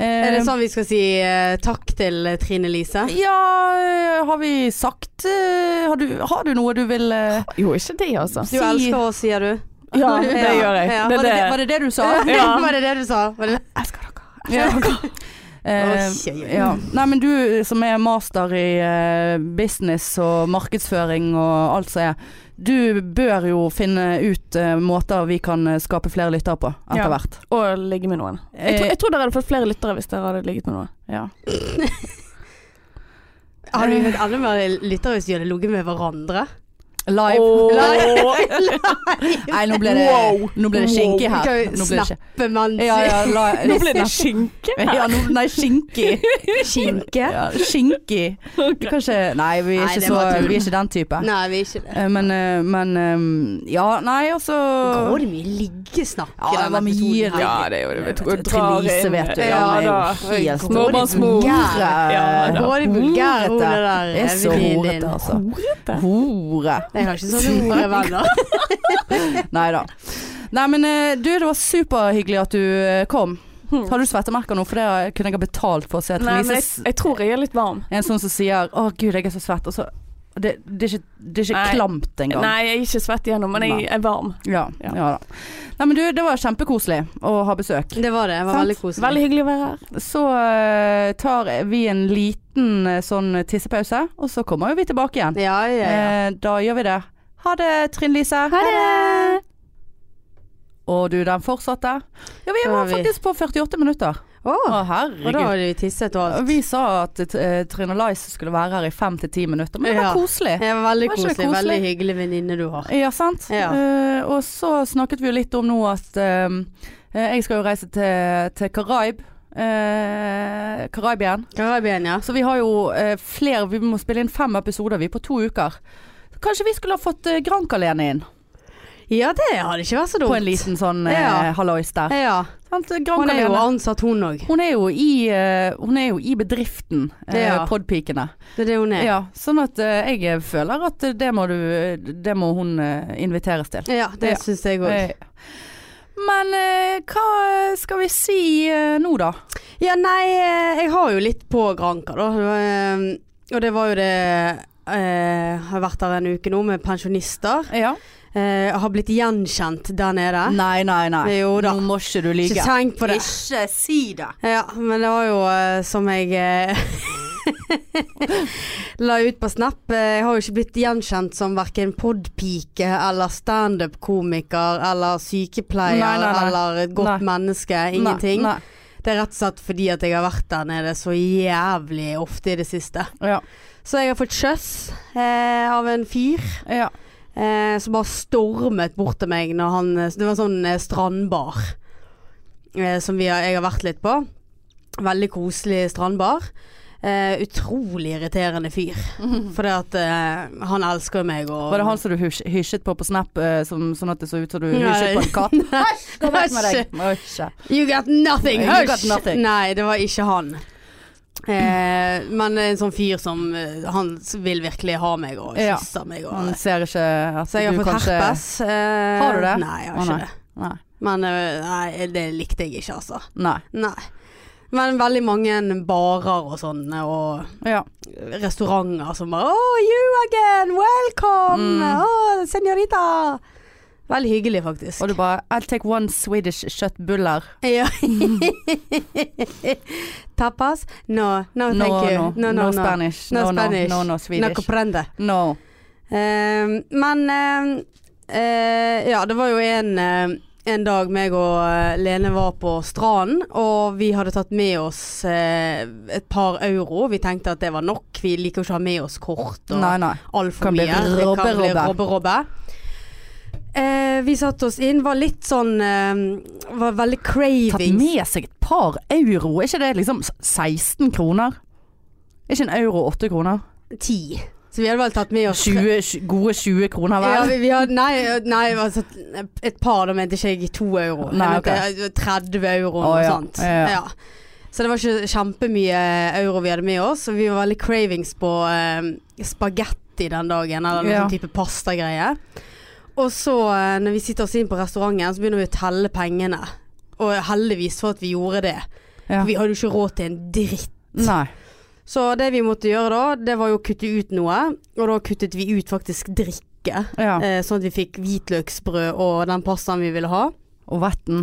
S1: Er det sånn vi skal si eh, takk til eh, Trine Lise?
S2: Ja, eh, har vi sagt eh, har, du, har du noe du vil eh,
S3: Jo, ikke det, altså.
S1: Du
S2: Si-
S1: elsker oss, sier du.
S3: Ja, det
S1: Ja,
S3: gjør jeg.
S1: ja.
S2: var,
S3: Det, er
S2: det,
S3: det,
S2: var det det du sa?
S3: Ja.
S1: Var det det du sa? Var det
S3: Jeg elsker dere.
S2: Ja. Eh,
S1: Oi, oi, oi.
S2: ja. Nei, men du som er master i eh, business og markedsføring og alt som er, du bør jo finne ut eh, måter vi kan eh, skape flere lyttere på etter
S3: Ja.
S2: hvert.
S3: Og ligge med noen. Jeg,
S2: Eh.
S3: tror- jeg tror dere hadde fått flere lyttere hvis dere hadde ligget med noen.
S2: Ja.
S1: Hadde vi fått enda mer lyttere hvis vi hadde ligget med hverandre?
S2: Eh, Live. Nei, nå ble det,
S3: Wow.
S2: nå ble det skinke her.
S1: Skal vi
S2: Nå ble det ikke-
S1: Snappe mens
S2: ja, ja, la,
S3: Nå ble det skinke her.
S2: ja, nå, nei, skinke.
S1: skinke?
S2: Ja, skinke. Du kan ikke Nei, vi er
S1: Nei,
S2: ikke,
S1: det var
S2: så,
S1: tull.
S2: vi er ikke den type.
S1: Nei, vi er ikke det.
S2: Eh, Men, eh, men eh, Ja, nei, altså
S1: Går det mye liggesnakk
S2: Ja,
S1: i
S2: det var
S1: denne
S2: mye
S1: episoden? her?
S3: Ja, det gjorde vi.
S2: Vet
S3: Tok
S2: du,
S3: og drar
S2: Trine Lise,
S3: inn.
S2: vet du.
S3: Ja,
S2: Ja, hun er jo
S3: da.
S2: helt
S3: Småbarnsmor.
S2: Vulgære.
S3: Ja, da. Mm,
S1: Både vulgære og det der
S2: Det er så
S1: venninnen din.
S2: horete, altså.
S3: Horete.
S2: Hore.
S1: Jeg har ikke sånne horevenner.
S2: Nei da. Nei, men eh, du, det var superhyggelig at du eh, kom.
S3: Hmm.
S2: Har du svettemerker nå? For det har- kunne jeg ha betalt for å se.
S3: Nei,
S2: Trine
S3: men jeg,
S2: Lise
S3: jeg tror jeg er litt varm.
S2: En sånn som sier 'Å gud, jeg er så svett', og så Det, det er ikke, det er ikke
S3: Nei.
S2: klamt engang.
S3: Nei, jeg er ikke svett igjennom, men jeg
S2: Nei.
S3: er varm.
S2: Ja,
S3: Ja.
S2: ja. da. Nei, men du, det var kjempekoselig å ha besøk.
S1: Det var det. Det var
S2: Sant.
S1: veldig koselig.
S3: Veldig hyggelig å være her.
S2: Så eh, tar vi en liten eh, sånn tissepause, og så kommer jo vi tilbake igjen.
S1: Ja, ja, ja.
S2: Eh, da gjør vi det. Ha det, Trine Lise.
S3: Ha det!
S2: Og du, den fortsatte. Ja, vi
S1: Da
S2: var
S1: har vi-
S2: faktisk på 48 minutter.
S1: Å,
S2: Å,
S1: og da
S2: herregud.
S1: har de tisset og alt.
S2: Vi sa at eh, Trine Lise skulle være her i fem til ti minutter, men det var
S1: Ja.
S2: koselig.
S1: Det var veldig
S2: Var ikke det
S1: koselig.
S2: koselig?
S1: Veldig hyggelig venninne du har.
S2: Ja, sant.
S1: Ja.
S2: Eh, og så snakket vi jo litt om nå at eh, eh, jeg skal jo reise til, til Karaib. eh, Karaib igjen.
S1: Karabien, ja.
S2: Så vi har jo eh, flere Vi må spille inn fem episoder vi på to uker. Kanskje vi skulle ha fått eh, Grankalene inn
S1: Ja, det hadde ikke vært så dumt.
S2: på en liten sånn eh,
S1: Ja.
S2: hallois der.
S1: Ja.
S2: Sant?
S1: Hun er jo
S2: Grankalene.
S1: ansatt, hun òg.
S2: Hun er, jo i, eh, hun er jo i bedriften, eh,
S1: Ja.
S2: Podpikene.
S1: Det er det hun er.
S2: Ja, sånn at eh, jeg føler at det må, du, det må hun eh, inviteres til.
S1: Ja, det
S2: Ja.
S1: syns jeg òg.
S2: Eh, Men eh, hva skal vi si eh, nå, da?
S1: Ja, nei, eh, jeg har jo litt på Granka, da. Ehm, Det var, eh, Og det var jo det eh, Har vært der en uke nå med pensjonister.
S2: Ja.
S1: eh, har blitt gjenkjent der nede.
S2: Nei, nei, nei.
S1: Jo da.
S2: Nå må ikke du
S1: Ikke
S2: lyge.
S1: tenk på det.
S2: Ikke si det.
S1: Ja, men det var jo eh, som jeg eh, la ut på Snap. Eh, Jeg har jo ikke blitt gjenkjent som verken podpike eller standup-komiker eller sykepleier
S2: Nei, nei, nei.
S1: eller et godt menneske. Ingenting.
S2: Nei,
S1: Det er rett og slett fordi at jeg har vært der nede så jævlig ofte i det siste.
S2: nei. Ja.
S1: Så jeg har fått kjøss eh, av en fyr.
S2: ja.
S1: Eh, som bare stormet bort til meg når han Det var en sånn eh, strandbar eh, som vi har, jeg har vært litt på. Veldig koselig strandbar. Eh, utrolig irriterende fyr. Fordi at eh, han elsker jo meg og
S2: Var det han som du hysj- hysjet på på Snap, eh, som, sånn at det så ut som du
S1: Nei.
S2: hysjet på en katt? Hysj! Gå vekk med deg! Hysj.
S1: You got nothing!
S2: You
S1: Hush!
S2: got nothing.
S1: Nei, det var ikke han. Eh, men en sånn fyr som eh, Han vil virkelig ha meg og
S2: Ja.
S1: kysse meg og
S2: Han ser ikke at
S1: Mm. Så jeg har
S2: du
S1: fått
S2: kanskje
S1: herpes. eh,
S2: Har du det?
S1: Nei, jeg
S2: Å,
S1: har ikke
S2: nei.
S1: det.
S2: Nei.
S1: Men eh, nei, det likte jeg ikke, altså.
S2: nei.
S1: Nei. Men veldig mange barer og sånne, og
S2: Ja.
S1: restauranter som bare Oh, you again! Welcome!
S2: Mm.
S1: Oh, senorita! Veldig hyggelig, faktisk.
S2: Og du bare I'll take one Swedish kjøttbuller.
S1: Ja. Tapas? No, no,
S2: No,
S1: thank you.
S2: no, no,
S1: no, no.
S2: Spanish.
S1: No
S2: No, no,
S1: Spanish.
S2: no, no
S1: No
S2: Swedish.
S1: comprende.
S2: No.
S1: Eh, men eh, eh, ja, det var jo en, eh, en dag meg og eh, Lene var på stranden, og vi hadde tatt med oss eh, et par euro. Vi tenkte at det var nok. Vi liker jo ikke å ha med oss kort og
S2: Nei, nei.
S1: altfor
S2: Kan bli
S1: mye. Det kan bli
S2: robbe-robbe.
S1: robbe-robbe. Eh, vi satte oss inn, var litt sånn eh, Var veldig
S2: Tatt
S1: craving.
S2: med seg et par euro, er ikke det liksom s- 16 kroner? Er ikke en euro 8 kroner?
S1: Ti. Så vi hadde vel tatt med oss
S2: 20, tj- gode 20 kroner
S1: Ja,
S2: hver?
S1: vi, vi hadde, nei, nei altså, et par, da mente ikke jeg to euro.
S2: Nei,
S1: jeg mente 30 euro
S2: Å,
S1: og
S2: ja.
S1: sånt.
S2: Ja, ja.
S1: Så det var ikke kjempemye euro vi hadde med oss. Og vi var veldig cravings på eh, spagetti den dagen, eller noen
S2: Ja.
S1: sånn type pastagreie. Og så, eh, når vi sitter oss inn på restauranten, så begynner vi å telle pengene. Og heldigvis for at vi gjorde det.
S2: Ja.
S1: Vi hadde jo ikke råd til en dritt.
S2: Nei.
S1: Så det vi måtte gjøre da, det var jo å kutte ut noe. Og da kuttet vi ut faktisk drikke.
S2: Ja.
S1: Eh, sånn at vi fikk hvitløksbrød og den pastaen vi ville ha. Ah,
S2: Og vetten.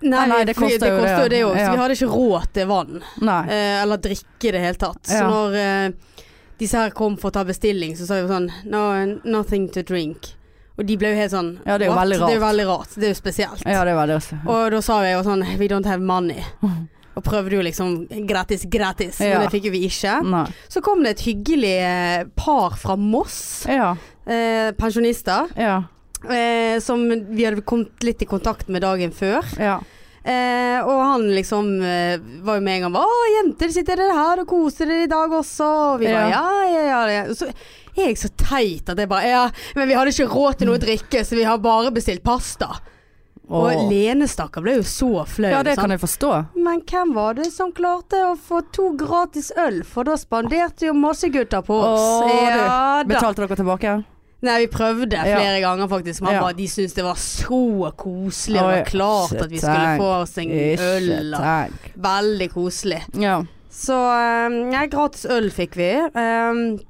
S1: Nei,
S2: nei, det
S1: fordi
S2: koster jo det,
S1: jo det
S2: ja.
S1: òg, så
S2: Ja.
S1: vi hadde ikke råd til vann.
S2: Nei.
S1: Eh, eller drikke i det hele tatt. Så
S2: Ja.
S1: når eh, disse her kom for å ta bestilling, så sa vi sånn no, Nothing to drink. Og de ble jo helt sånn
S2: Ja, det er jo
S1: «What?»
S2: veldig
S1: Det er jo
S2: rart.
S1: veldig rart. Det er jo spesielt.
S2: Ja, det var det også.
S1: Eh, Og da sa jeg jo sånn We don't have money. Og prøvde jo liksom gratis, gratis.
S2: Ja.
S1: Men det fikk jo vi ikke.
S2: Nei.
S1: Så kom det et hyggelig eh, par fra Moss.
S2: Ja.
S1: Eh, pensjonister.
S2: Ja.
S1: eh, som vi hadde kommet litt i kontakt med dagen før.
S2: Ja.
S1: Eh, og han liksom eh, var jo med en gang bare 'Å, jenter, sitter dere her og koser dere i dag også?' Og vi bare ja, ja, ja. ja. Og Så er jeg så teit at jeg bare Ja, men vi hadde ikke råd til noe å drikke, så vi har bare bestilt pasta. Og
S2: Åh.
S1: Lene, stakkar, ble jo så flau.
S2: Ja, det
S1: sant?
S2: kan jeg forstå.
S1: Men hvem var det som klarte å få to gratis øl, for da spanderte jo Mossegutta på oss.
S2: Åh, du.
S1: ja da.
S2: Betalte dere tilbake?
S1: Nei, vi prøvde flere ganger faktisk. Men
S2: Ja.
S1: bare, de syntes det var så koselig.
S2: Oi,
S1: det var klart
S2: ikke
S1: at vi skulle
S2: tenk.
S1: få oss en øl.
S2: Ikke
S1: da.
S2: tenk.
S1: Veldig koselig.
S2: Ja.
S1: Så eh, nei, gratis øl fikk vi. eh,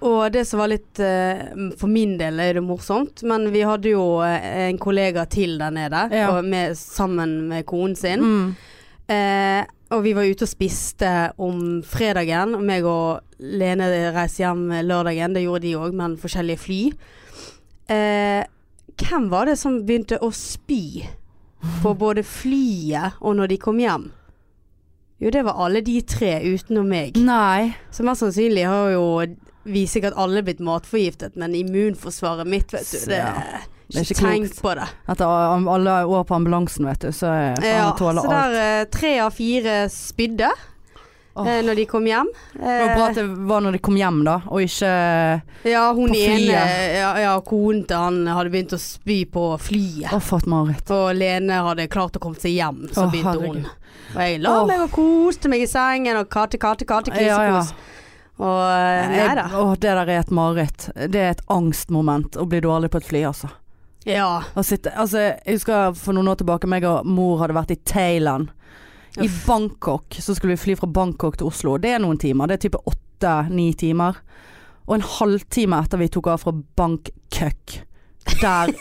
S1: og det som var litt eh, For min del er det morsomt, men vi hadde jo eh, en kollega til der nede
S2: Ja.
S1: og med, sammen med konen sin.
S2: Mm.
S1: Eh, og vi var ute og spiste om fredagen. Og meg og Lene reiste hjem lørdagen. Det gjorde de òg, men forskjellige fly. Eh, hvem var det som begynte å spy på både flyet og når de kom hjem? Jo, det var alle de tre utenom meg.
S2: Mm. Nei.
S1: Så mest sannsynlig har jo vi sikkert alle blitt matforgiftet, men immunforsvaret mitt, vet du, det,
S2: Ja, det er
S1: ikke
S2: ikke
S1: tenk på det.
S2: Etter a- alle år på ambulansen, vet du, så er faen
S1: Ja,
S2: jeg
S1: så
S2: tåler alt.
S1: der eh, tre av fire spydde
S2: Åh.
S1: eh, når de kom hjem.
S2: Det var
S1: Eh,
S2: bra at det var når de kom hjem, da, og ikke
S1: ja, hun
S2: på flyet.
S1: ene, ja, ja, konen til han hadde begynt å spy på flyet.
S2: Å, for et mareritt.
S1: Og Lene hadde klart å komme seg hjem, så
S2: Åh,
S1: begynte
S2: herregud.
S1: hun. Og jeg la
S2: Åh.
S1: meg og koste meg i sengen og kate, kate, kate,
S2: Ja, ja.
S1: krisekos. Og eh, nei da.
S2: Jeg- Å, det der er et mareritt. Det er et angstmoment å bli dårlig på et fly, altså.
S1: Ja.
S2: Å sitte, altså. Jeg husker for noen år tilbake meg og mor hadde vært i Thailand. I Bangkok. Så skulle vi fly fra Bangkok til Oslo. Det er noen timer. Det er type åtte-ni timer. Og en halvtime etter vi tok av fra Bangkok, der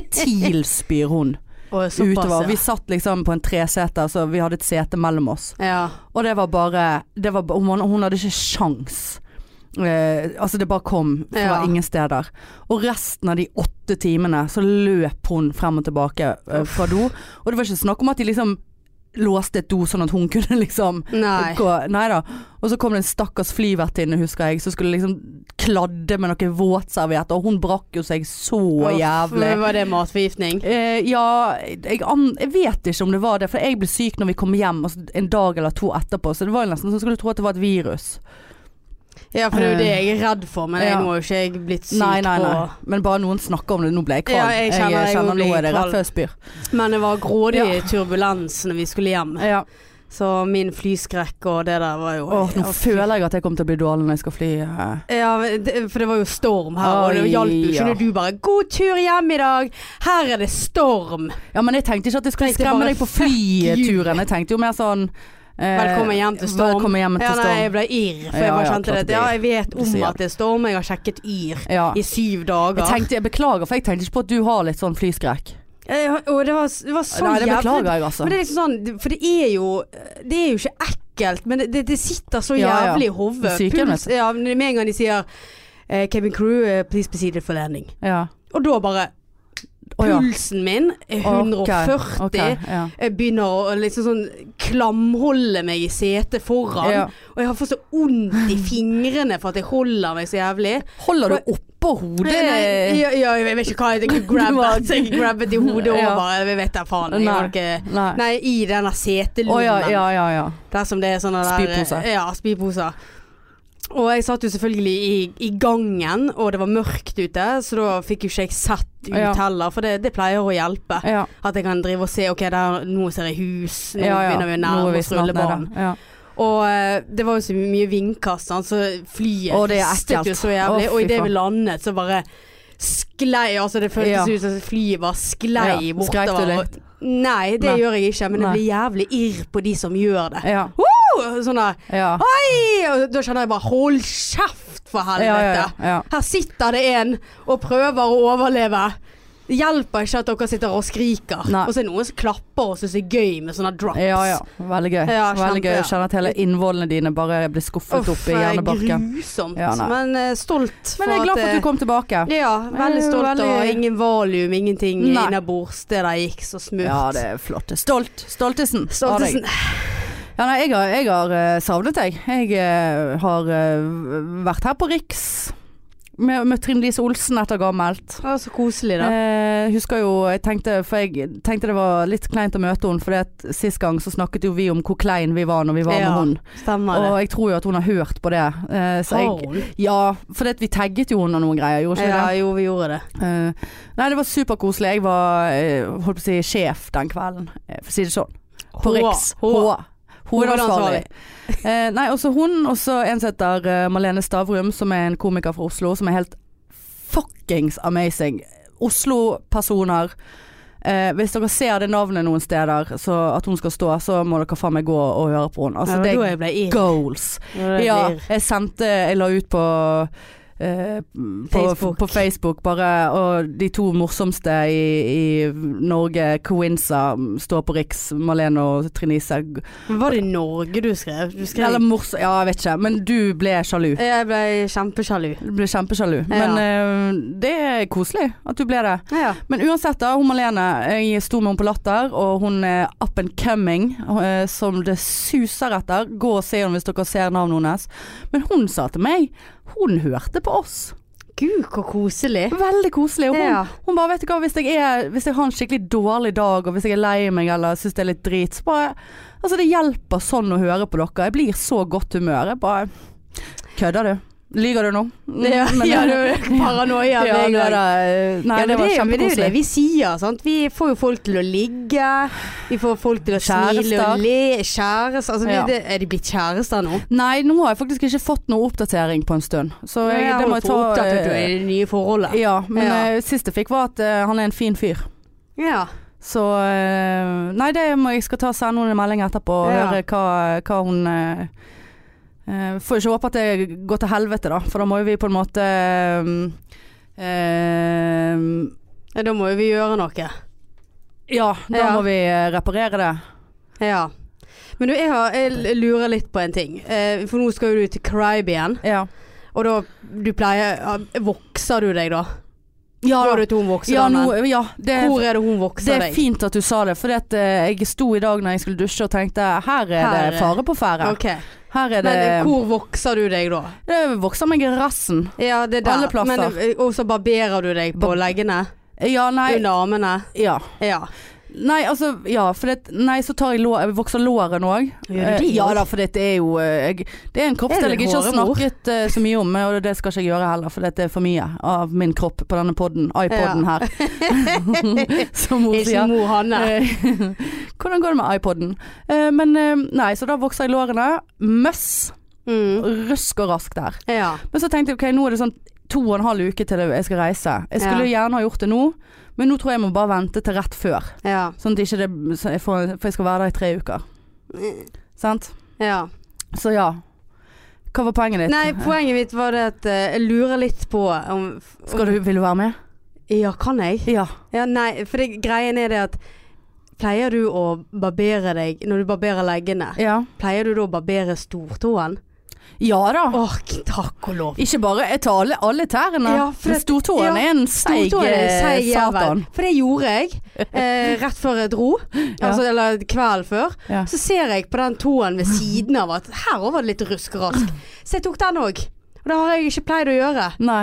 S2: prosjektilspyr hun
S1: Og såpass,
S2: utover. Vi
S1: ja.
S2: satt liksom på en treseter, så vi hadde et sete mellom oss.
S1: ja.
S2: Og det var bare det var, ba- hun, hun hadde ikke sjans. Eh, altså det bare kom fra
S1: Ja.
S2: ingen steder. Og resten av de åtte timene så løp hun frem og tilbake eh, fra do. Og det var ikke snakk om at de liksom låste et do sånn at hun kunne liksom
S1: Nei.
S2: gå Nei da. Og så kom det en stakkars flyvertinne, husker jeg, som skulle liksom kladde med noen våtservietter, og hun brakk jo seg så jævlig.
S1: Men Var det matforgiftning?
S2: Eh, ja, jeg, an, jeg vet ikke om det var det, for jeg ble syk når vi kom hjem og så en dag eller to etterpå, så det var jo nesten så jeg skulle tro at det var et virus.
S1: Ja, for det er jo det jeg er redd for, men jeg
S2: Eh. Ja.
S1: må jo ikke jeg blitt syk
S2: nei, nei, nei. Men bare noen snakker om det, nå ble jeg kvalm.
S1: Ja, jeg kjenner jeg
S2: kjenner nå
S1: blir
S2: er det
S1: kvalm.
S2: rett før jeg spyr.
S1: på. Men det var grådig
S2: Ja.
S1: turbulens når vi skulle hjem,
S2: Ja.
S1: så min flyskrekk og det der var jo
S2: Åh, nå
S1: Ja, fy-
S2: føler jeg at jeg kommer til å bli dårlig når jeg skal fly. eh.
S1: Ja, men det- for det var jo storm her, og det
S2: Oi,
S1: hjalp jo ikke
S2: ja.
S1: når du bare 'God tur hjem i dag, her er det storm'.
S2: Ja, men jeg tenkte ikke at jeg skulle
S1: Tenkte
S2: skremme
S1: bare,
S2: deg på
S1: fuck you.
S2: flyturen. Jeg tenkte jo mer sånn eh,
S1: Velkommen hjem til storm.
S2: Velkommen hjem til
S1: Ja, nei, jeg
S2: storm.
S1: ble irr, for
S2: Ja,
S1: jeg bare
S2: ja,
S1: kjente
S2: klart
S1: det.
S2: at
S1: at,
S2: det-
S1: Ja, jeg vet
S2: det
S1: om
S2: sier-
S1: at det er storm, jeg har sjekket yr
S2: Ja.
S1: i syv
S2: Jeg
S1: dager.
S2: tenkte, jeg beklager, for jeg tenkte ikke på at du har litt sånn flyskrekk.
S1: Eh, og det var, det var så
S2: Nei, det
S1: jævlig
S2: beklager jeg, altså.
S1: Men det er liksom sånn, det- for det er jo Det er jo ikke ekkelt, men det- det, det sitter så
S2: Ja, ja.
S1: jævlig i hodet.
S2: Sykehjem,
S1: Puls- Ja, men med en gang de sier eh, Cabin crew, eh, please be seated for landing.
S2: Ja.
S1: Og da bare
S2: Å, ja.
S1: Pulsen min er 140.
S2: Ok, ok, ja.
S1: Jeg eh, begynner å liksom sånn klamholde meg i setet foran.
S2: Ja.
S1: Og jeg har fått så vondt i fingrene for at jeg holder meg så jævlig.
S2: Holder du oppå hodet?
S1: Nei, ja, ja, jeg vet ikke hva jeg tenker.
S2: Du har-
S1: Grabbet, jeg grabbet i hodet
S2: Ja.
S1: over. Jeg vet da faen. Jeg
S2: Nei.
S1: har ikke
S2: Nei.
S1: Nei, i denne
S2: Å
S1: setelunden.
S2: ja, ja, ja, ja.
S1: Der som det er sånne der eh,
S2: Spyposer.
S1: Ja, spyposer. Og jeg satt jo selvfølgelig i, i gangen, og det var mørkt ute, så da fikk jo ikke jeg sett ut
S2: Ja.
S1: heller, for det, det pleier å hjelpe.
S2: ja,
S1: At jeg kan drive og se OK, der, nå ser jeg hus, Ah, nå
S2: ja, ja.
S1: begynner vi å
S2: Nå er
S1: nærme
S2: vi
S1: oss
S2: snart
S1: rullebanen.
S2: nede. Ja.
S1: Og eh, det var jo så mye vindkast, sant, så flyet
S2: Å, det er ekkelt.
S1: ristet jo så jævlig.
S2: Å, fy
S1: og idet vi
S2: faen.
S1: landet, så bare sklei Altså, det føltes
S2: Ja.
S1: ut som flyet bare sklei
S2: Ja.
S1: bortover.
S2: Skrek du
S1: og-
S2: litt?
S1: Nei, det
S2: Nei.
S1: gjør jeg ikke, men det
S2: Nei.
S1: blir jævlig irr på de som gjør det.
S2: Ja.
S1: Oh, Sånn der
S2: Ja.
S1: Hei! Og da kjenner jeg bare Hold kjeft, for
S2: Ja,
S1: helvete!
S2: ja, ja, ja.
S1: Her sitter det en og prøver å overleve. Det hjelper ikke at dere sitter og skriker.
S2: Nei.
S1: Og så er det noen som klapper og syns det er gøy med sånne drops.
S2: Ja, ja. Veldig gøy.
S1: Ja,
S2: Veldig
S1: kjempe,
S2: gøy.
S1: ja.
S2: Jeg kjenner at hele innvollene dine bare blir skuffet opp i hjernebarken.
S1: grusomt.
S2: Ja, nei.
S1: men eh, stolt eh,
S2: Men jeg er glad for at du kom tilbake.
S1: Ja, veldig
S2: Jeg er
S1: stolt.
S2: veldig-
S1: Og ingen valium, ingenting
S2: Nei.
S1: innabords. Det der gikk så smurt.
S2: Ja, det er flott. Stolt. Stoltesen. av deg.
S1: Stoltesen.
S2: Ja, nei, jeg har, jeg har eh, savnet deg. Jeg eh, har eh, vært her på Riks. Med- Møtt Trine Lise Olsen etter gammelt.
S1: Det var så koselig, da.
S2: Eh, husker jo, jeg tenkte, for jeg tenkte det var litt kleint å møte henne, for at sist gang så snakket jo vi om hvor klein vi var når vi var
S1: Ja,
S2: med hun.
S1: Stemmer det.
S2: Og jeg tror jo at hun har hørt på det. Eh, så
S1: Har
S2: jeg,
S1: hun?
S2: ja, for det at vi tagget jo henne og noen greier, gjorde ikke
S1: Ja,
S2: vi det?
S1: jo, vi gjorde det.
S2: Eh, nei, det var superkoselig. Jeg var, eh, holdt på å si, sjef den kvelden, eh, for å si det sånn. På
S1: H,
S2: Riks.
S1: H.
S2: Hovedansvarlig.
S1: Hovedansvarlig.
S2: Eh, nei, også hun, og så en som heter eh, Malene Stavrum, som er en komiker fra Oslo, som er helt fuckings amazing. Oslo-personer. Eh, hvis dere ser det navnet noen steder, så at hun skal stå, så må dere faen meg gå og høre på henne. Altså,
S1: Ja, det var da
S2: det
S1: jeg ble
S2: er
S1: irr.
S2: goals. Ja, jeg sendte Jeg la ut på eh, på Facebook.
S1: Facebook.
S2: på Facebook bare Og de to morsomste i, i Norge, Coinza, står på Riks, Malene og Trinise.
S1: Men Var det Norge du skrev? Du skrev
S2: Eller morsom Ja, jeg vet ikke. Men du ble sjalu.
S1: Jeg ble kjempesjalu.
S2: Du ble kjempesjalu.
S1: Ja.
S2: Men eh, det er koselig at du ble det.
S1: Ja.
S2: Men uansett, da. Hun Malene. Jeg sto med henne på Latter, og hun er up and coming eh, som det suser etter. Gå og se henne hvis dere ser navnet hennes. Men hun sa til meg hun hørte på oss.
S1: Gud, hvor koselig.
S2: Veldig koselig. Og hun,
S1: Ja.
S2: hun bare, vet du hva, hvis jeg, er, hvis jeg har en skikkelig dårlig dag, og hvis jeg er lei meg eller syns det er litt drit, så bare Altså, det hjelper sånn å høre på dere. Jeg blir så godt humør. Jeg bare Kødder du? Lyger du nå? Mm,
S1: Ja,
S2: Men-
S1: ja, du er paranoia.
S2: Ja,
S1: med en
S2: nå
S1: gang.
S2: er det- Nei,
S1: ja, men
S2: det var
S1: er jo- men det er jo det
S2: kjempekoselig.
S1: vi sier. Sant? Vi får jo folk til å ligge. Vi får folk til å smile
S2: Kjærester.
S1: og le. Kjærester. Altså, vi-
S2: Ja.
S1: det, er de blitt kjærester nå?
S2: Nei, nå har jeg faktisk ikke fått noe oppdatering på en stund. Så jeg,
S1: Ja,
S2: det må
S1: må
S2: jeg ta
S1: oppdatert
S2: eh,
S1: i det nye forholdet.
S2: Ja, men
S1: Ja.
S2: eh, sist jeg fikk var at eh, han er en fin fyr.
S1: Ja.
S2: Så eh, Nei, det må jeg skal ta og sende henne en melding etterpå og
S1: Ja.
S2: høre hva, hva hun eh, eh, Får ikke håpe at det går til helvete, da, for da må jo vi på en måte eh, Ehm,
S1: Ja, Da må jo vi gjøre noe.
S2: ja, da
S1: Ja.
S2: må vi eh, reparere det.
S1: Ja. Men du, jeg, har, jeg lurer litt på en ting. Eh, for nå skal jo du til Caribbean.
S2: Ja.
S1: Og da du pleier ja, Vokser du deg da?
S2: Ja,
S1: Går du til hun vokser
S2: ja,
S1: damen?
S2: nå- ja, det,
S1: Hvor er det hun
S2: det
S1: vokser
S2: er
S1: deg?
S2: fint at du sa det, for jeg sto i dag når jeg skulle dusje og tenkte her er
S1: Her er-
S2: det fare på ferde.
S1: Ok.
S2: Her er det,
S1: Men hvor vokser du deg da?
S2: det vokser meg i rassen.
S1: Ja, det er der.
S2: Alle plasser.
S1: Men, eh, og så barberer du deg på
S2: Bar-
S1: leggene?
S2: Ja, nei,
S1: Under armene?
S2: ja.
S1: Ja.
S2: Nei, altså, ja, for det, nei, så tar jeg lå, jeg vokser låret nå òg.
S1: Gjør du det
S2: Ja
S1: også?
S2: da, for det er jo eh, jeg, Det er en
S1: Er
S2: kroppsdel
S1: du
S2: jeg ikke har
S1: håremor?
S2: snakket eh, så mye om, og det skal ikke jeg gjøre heller, for det er for mye av min kropp på denne podden, iPoden her. Som hun
S1: Ikke
S2: sier.
S1: mor Hanne.
S2: Eh, Hvordan går det med iPoden? Eh, Men eh, nei, så da vokser jeg lårene. Møss.
S1: Mm.
S2: Rusk og rask der.
S1: Ja.
S2: Men så tenkte jeg ok, nå er det sånn to og en halv uke til jeg skal reise. Jeg skulle gjerne ha gjort det nå, men nå tror jeg jeg må bare vente til rett før.
S1: Ja.
S2: Sånn at ikke det så jeg får, For jeg skal være der i tre uker. Sant?
S1: ja.
S2: Så ja. Hva var poenget ditt?
S1: Nei, poenget mitt var det at eh, jeg lurer litt på om,
S2: skal du, Vil du være med?
S1: Ja, kan jeg?
S2: Ja.
S1: Ja, nei, for det, greien er det at Pleier du å barbere deg Når du barberer leggene,
S2: Ja,
S1: pleier du da å barbere stortåen?
S2: ja da.
S1: Åh, takk og lov.
S2: Ikke bare Jeg tar alle, alle tærne.
S1: Ja, for
S2: Men
S1: det-
S2: stortåen
S1: ja,
S2: er en seig
S1: Stortåen er
S2: eh,
S1: seig jævel.
S2: satan.
S1: For det gjorde jeg eh, rett før jeg dro,
S2: Ja.
S1: altså, eller kvelden før.
S2: Ja.
S1: Så ser jeg på den tåen ved siden av at her også var det litt rusk-rask. Så jeg tok den òg. Og det har jeg ikke pleid å gjøre.
S2: Nei.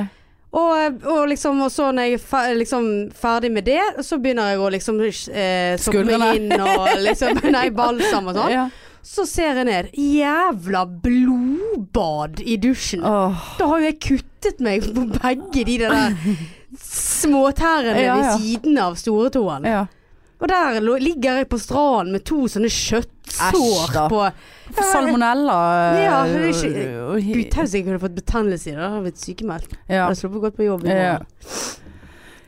S1: Og, og, liksom, og så når jeg er fe- liksom, ferdig med det, så begynner jeg å liksom eh, soppe meg
S2: Skuldrene.
S1: inn og liksom Nei, balsam og sånn.
S2: Ja.
S1: Så ser jeg ned. Jævla blodbad i dusjen.
S2: Åh.
S1: Da har jo jeg kuttet meg på begge de der småtærne
S2: Ja, ja.
S1: ved siden av stortåen.
S2: Ja.
S1: Og der lå- ligger jeg på stranden med to sånne
S2: Æsj, da.
S1: kjøttsår på
S2: For salmonella eh,
S1: Ja, det er ikke-
S2: og- og-
S1: Gud, tenk hvis jeg kunne fått betennelse i det. Da hadde jeg blitt sykemeldt.
S2: ja.
S1: Hadde sluppet gått på jobb. i
S2: Ja.
S1: morgen.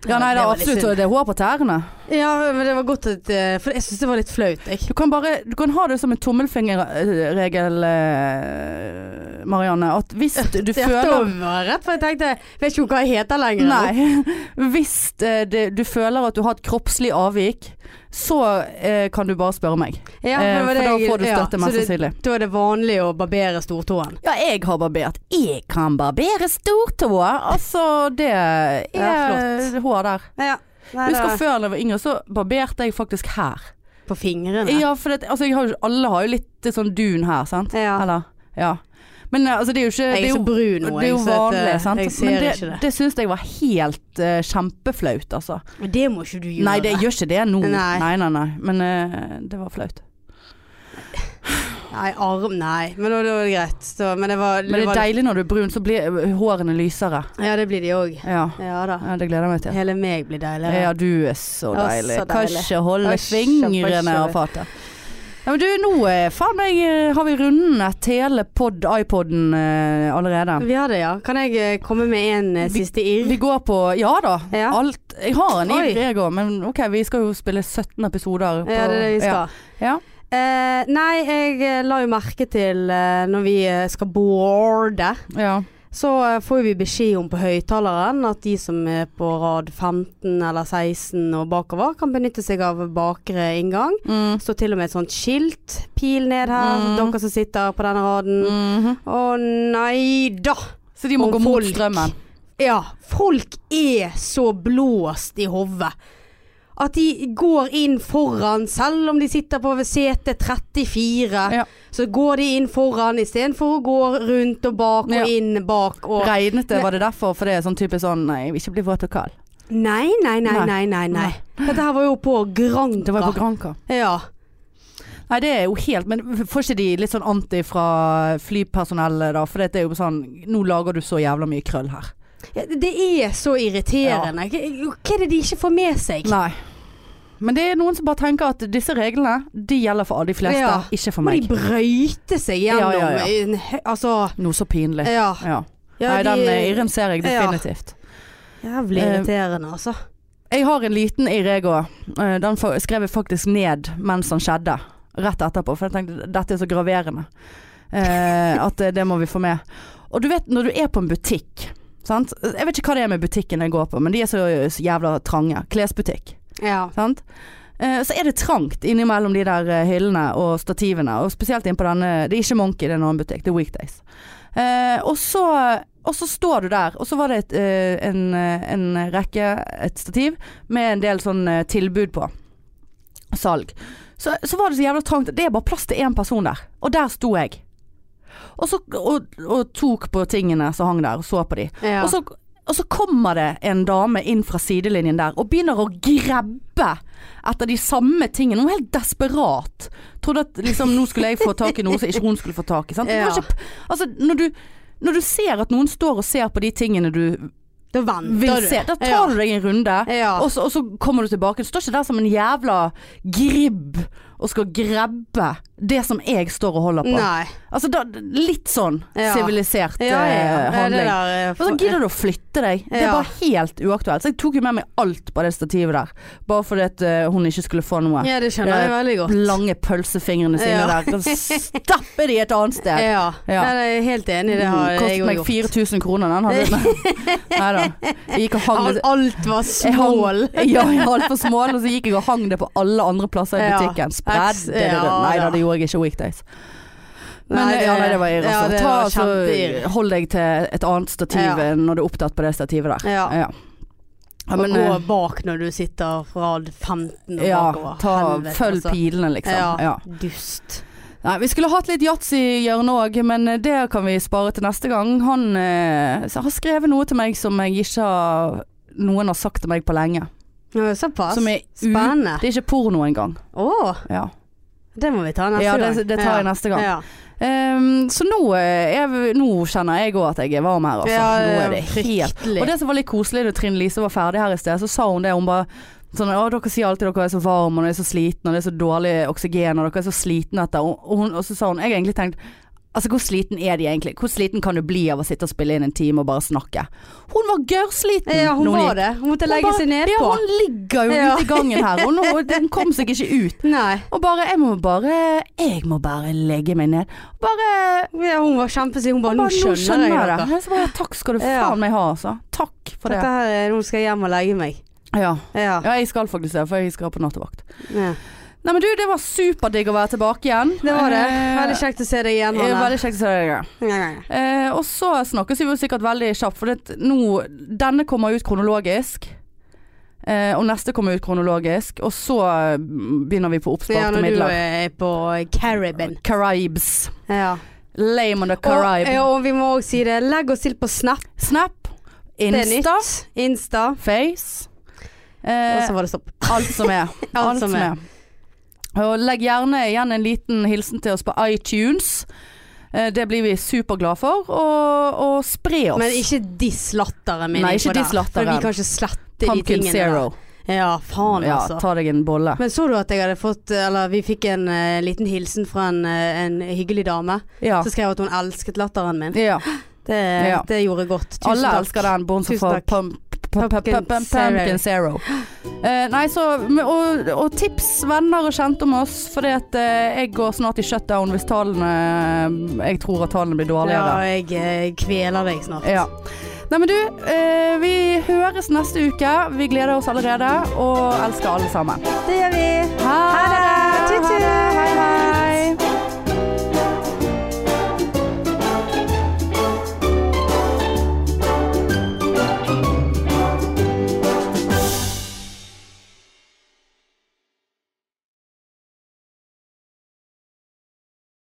S2: ja, nei, det er
S1: var litt
S2: absolutt
S1: synd.
S2: og det er hår på tærne.
S1: Ja, men det var godt at eh, For jeg syns det var litt flaut, jeg.
S2: Du kan bare Du kan ha det som en tommelfingerregel, eh, Marianne, at hvis du
S1: Det hjertet
S2: føler
S1: var rett, for jeg tenkte Vet ikke hva jeg heter lenger. nå.
S2: Nei. Hvis eh, det, du føler at du har et kroppslig avvik, så eh, kan du bare spørre meg.
S1: Ja,
S2: Eh,
S1: men det var det
S2: for da
S1: jeg-
S2: får du
S1: ja,
S2: støtte,
S1: så
S2: mest
S1: det-
S2: sannsynlig.
S1: Da er det vanlig å barbere stortåen.
S2: Ja, jeg har barbert. Jeg kan barbere stortåa. Altså, det er
S1: Ja,
S2: hår der.
S1: Ja. Nei,
S2: Jeg husker
S1: det-
S2: før da jeg var yngre, så barberte jeg faktisk her.
S1: på fingrene.
S2: Ja, for det, altså, jeg har jo, alle har jo litt sånn dun her, sant?
S1: Ja.
S2: Eller? Ja. Men eh, altså, det er jo ikke
S1: Jeg
S2: det
S1: er så
S2: er jo,
S1: brun nå,
S2: det er jo
S1: jeg, så at,
S2: vanlig,
S1: eh,
S2: sant?
S1: jeg ser
S2: Men det,
S1: ikke det.
S2: det syns jeg var helt eh, kjempeflaut, altså.
S1: Men det må ikke du gjøre.
S2: Nei, det gjør ikke det nå.
S1: Nei.
S2: nei, nei. nei. Men eh, det var flaut.
S1: Nei, arm, nei. Men da da var det greit. Så, men det var,
S2: Men det
S1: var
S2: er deilig når du er brun, så blir eh, hårene lysere.
S1: Ja, det blir de òg.
S2: Ja,
S1: Ja da.
S2: ja det gleder jeg meg til.
S1: Hele meg blir deiligere.
S2: Ja, du er så
S1: Ja, så
S2: deilig. Kan
S1: deilig.
S2: ikke holde
S1: Asj,
S2: fingrene
S1: asj.
S2: av fatet. Ja, men du, nå eh, faen meg eh, har vi rundet hele pod iPoden eh, allerede.
S1: Vi har det, ja. Kan jeg eh, komme med en eh,
S2: Vi-
S1: siste irr?
S2: Vi går på Ja da.
S1: Ja.
S2: Alt Jeg har en
S1: Oi.
S2: ivrig, jeg òg, men OK, vi skal jo spille 17 episoder. På,
S1: Ja, det er det vi skal.
S2: Ja.
S1: Eh, nei, jeg eh, la jo merke til eh, når vi eh, skal boarde,
S2: Ja. ja.
S1: så eh, får vi beskjed om på høyttaleren at de som er på rad 15 eller 16 og bakover, kan benytte seg av bakre inngang.
S2: Mm.
S1: står til og med et sånt skilt. Pil ned her,
S2: Mm.
S1: dere som sitter på denne raden.
S2: Mhm.
S1: Å nei da!
S2: Så de må
S1: Og
S2: gå mot
S1: folk.
S2: strømmen.
S1: Ja, folk er så blåst i hodet. At de går inn foran, selv om de sitter på ved sete 34.
S2: Ja.
S1: Så går de inn foran istedenfor å gå rundt og bak og
S2: Ja.
S1: inn bak og
S2: Regnet det, var det derfor? For det er sånn type sånn Nei, jeg vil ikke bli våt og kald.
S1: Nei, nei, nei,
S2: Nei.
S1: nei, nei. nei. Dette her var jo på Granca.
S2: Det var jo på Granca.
S1: Ja.
S2: Nei, det er jo helt Men får ikke de litt sånn anti fra flypersonellet, da? For det er jo sånn Nå lager du så jævla mye krøll her.
S1: Ja, Det er så irriterende. Hva er det de ikke får med seg?
S2: Nei. Men det er noen som bare tenker at disse reglene, de gjelder for alle de fleste,
S1: Ja.
S2: ikke for
S1: Må
S2: meg.
S1: de brøyte seg gjennom
S2: Ja, ja, ja.
S1: en hø- Altså
S2: Noe så pinlig.
S1: Ja.
S2: Ja.
S1: ja
S2: Nei, den
S1: de-
S2: eh, irren ser jeg
S1: ja.
S2: definitivt.
S1: Jævlig
S2: Eh,
S1: irriterende, altså.
S2: Jeg har en liten irr, jeg òg. Eh, Den fa- skrev jeg faktisk ned mens den skjedde. Rett etterpå, for jeg tenkte dette er så graverende. Eh, at eh, det må vi få med. Og du vet når du er på en butikk, Sant? Jeg vet ikke hva det er med butikken jeg går på, men de er så, så jævla trange. Klesbutikk.
S1: Ja.
S2: Sant? Eh, Så er det trangt innimellom de der eh, hyllene og stativene, og spesielt innpå denne Det er ikke Monkey, det er en annen butikk, det er Weekdays. Eh, og, så, og så står du der, og så var det et, eh, en, eh, en rekke, et stativ, med en del sånn eh, tilbud på. Salg. Så, så var det så jævla trangt. Det er bare plass til én person der. Og der sto jeg. Og, så, og, og tok på tingene som hang der, og så på de.
S1: ja.
S2: Og, så, og så kommer det en dame inn fra sidelinjen der og begynner å grabbe etter de samme tingene. Hun var helt desperat. Trodde at liksom, nå skulle jeg få tak i noe som ikke hun skulle få tak i. Sant? Det var
S1: Ja.
S2: Ikke, altså, når, du, når du ser at noen står og ser på de tingene du
S1: Da venter
S2: vil
S1: du.
S2: se, da tar du deg en runde.
S1: Ja.
S2: Og, så, og så kommer du tilbake. Du står ikke der som en jævla gribb og skal grabbe det som jeg står og holder på.
S1: Nei.
S2: Altså, da, litt sånn
S1: Ja.
S2: sivilisert
S1: Ja, ja,
S2: eh,
S1: ja. Det
S2: handling.
S1: der, eh,
S2: Og så gidder du å flytte deg. Det er
S1: Ja.
S2: bare helt uaktuelt. Så jeg tok jo med meg alt på det stativet der. Bare fordi at eh, hun ikke skulle få noe.
S1: Ja, det skjønner jeg veldig godt.
S2: Lange pølsefingrene sine
S1: Ja.
S2: der. Så stapper de et annet sted.
S1: Ja. Mm.
S2: Ja.
S1: Nei, nei, jeg er helt enig, det har jeg
S2: Kostet
S1: òg
S2: meg
S1: gjort.
S2: 4000 kroner den. Hadde. Nei da. Jeg gikk og hang
S1: Alt,
S2: det
S1: alt var
S2: jeg
S1: smål.
S2: ja, jeg var altfor smål, og så gikk jeg og hang det på alle andre plasser i
S1: Ja.
S2: butikken. Spredde det
S1: Ja,
S2: rundt. Nei da,
S1: da.
S2: det gjorde jeg ikke weekdays. Men
S1: Nei,
S2: eh,
S1: det-
S2: ja, nei, det var irr,
S1: ja,
S2: altså.
S1: det
S2: Ta,
S1: var
S2: altså,
S1: kjempeirr.
S2: hold deg til et annet stativ
S1: Ja.
S2: eh, når du er opptatt på det stativet der.
S1: Ja.
S2: Ja. Ja, men,
S1: og gå
S2: eh,
S1: bak når du sitter fra rad 15 og
S2: ja,
S1: bakover.
S2: ta,
S1: Helvete,
S2: følg
S1: altså.
S2: pilene, liksom.
S1: Ja.
S2: Ja.
S1: Dust.
S2: Nei, vi skulle hatt litt yatzy i hjørnet òg, men eh, det kan vi spare til neste gang. Han eh, så har skrevet noe til meg som jeg ikke har noen har sagt til meg på lenge.
S1: Ja, Såpass.
S2: Som er u-
S1: Spennende.
S2: Det er ikke porno engang.
S1: Å,
S2: Ja.
S1: det må vi ta neste
S2: Ja,
S1: gang.
S2: det- det tar jeg neste gang.
S1: Ja.
S2: Ehm, så nå, eh, er vi- nå kjenner jeg òg at jeg er varm her, altså.
S1: Ja,
S2: nå
S1: ja,
S2: er det helt
S1: fryktelig.
S2: Og det som var litt koselig da Trine Lise var ferdig her i sted, så sa hun det. Hun bare sånn Å, dere sier alltid dere er så varme, og dere er så slitne, og det er så dårlig oksygen, og dere er så slitne etter og, og, hun, og så sa hun Jeg har egentlig tenkt Altså, hvor sliten er de egentlig? Hvor sliten kan du bli av å sitte og spille inn en time og bare snakke? Hun var gørrsliten!
S1: Ja, hun
S2: når
S1: var
S2: gikk.
S1: det. Hun måtte
S2: Hun
S1: legge
S2: bare-
S1: seg nedpå.
S2: Ja, hun ligger jo
S1: Ja.
S2: ute i gangen her, og nå, hun kom seg ikke ut.
S1: Nei.
S2: Og bare Jeg må bare Jeg må bare legge meg ned. Bare
S1: Ja, hun var kjempesyk. Hun bare
S2: bare,
S1: Nå skjønner, jeg
S2: det.
S1: dere.
S2: Jeg sa bare, takk skal du
S1: Ja.
S2: faen meg ha, altså. Takk for
S1: Dette
S2: det.
S1: her, er- nå skal jeg hjem og legge meg.
S2: Ja.
S1: Ja.
S2: ja, jeg skal faktisk det, for jeg skal på nattevakt.
S1: ja.
S2: Nei, men du, det var superdigg å være tilbake igjen.
S1: Det var det.
S2: Eh,
S1: Veldig kjekt å se deg igjen,
S2: eh,
S1: Hanne.
S2: Veldig kjekt å se deg. igjen. Eh, og så snakkes vi jo sikkert veldig kjapt, for det, nå, denne kommer ut kronologisk. Eh, og neste kommer ut kronologisk, og så eh, begynner vi på
S1: Ja,
S2: oppsparte
S1: når du
S2: midler.
S1: er på Caribbean.
S2: Caribes.
S1: Ja.
S2: Lame on the
S1: Og,
S2: Caribe.
S1: ja, og vi må òg si det. Legg oss til på Snap.
S2: Snap.
S1: Det er
S2: Insta.
S1: nytt. Insta.
S2: Face.
S1: Og
S2: Eh,
S1: så var det stopp.
S2: Alt som er. Alt, som, er. Og legg gjerne igjen en liten hilsen til oss på iTunes. Eh, Det blir vi superglade for. Og, og spre oss.
S1: Men ikke diss latteren min.
S2: Nei, ikke
S1: innpå der,
S2: diss latteren.
S1: For vi kan ikke slette de
S2: Pumpkin
S1: tingene.
S2: Zero.
S1: der. Ja, faen
S2: Ja,
S1: altså.
S2: ta deg en bolle.
S1: Men så du at jeg hadde fått Eller vi fikk en eh, liten hilsen fra en, eh, en hyggelig dame.
S2: Ja.
S1: Som skrev at hun elsket latteren min.
S2: ja.
S1: Det,
S2: Ja.
S1: det gjorde godt. Tusen
S2: Alle
S1: takk.
S2: elsker den.
S1: Tusen
S2: Bortsett fra
S1: takk.
S2: pum- pu- pu-
S1: Pumpkin
S2: pu- pu- Pumpkin Zero. Eh, nei, så, men- og, og tips venner og kjente om oss, fordi at eh, jeg går snart i shutdown hvis tallene eh, Jeg tror at tallene blir
S1: Ja,
S2: dårligere.
S1: jeg eh, kveler deg snart.
S2: Ja. Nei, men du, eh, vi høres neste uke. Vi gleder oss allerede og elsker alle sammen.
S1: Det gjør vi.
S2: Ha
S1: Ha det. Tut, tut.
S2: Hei, hei.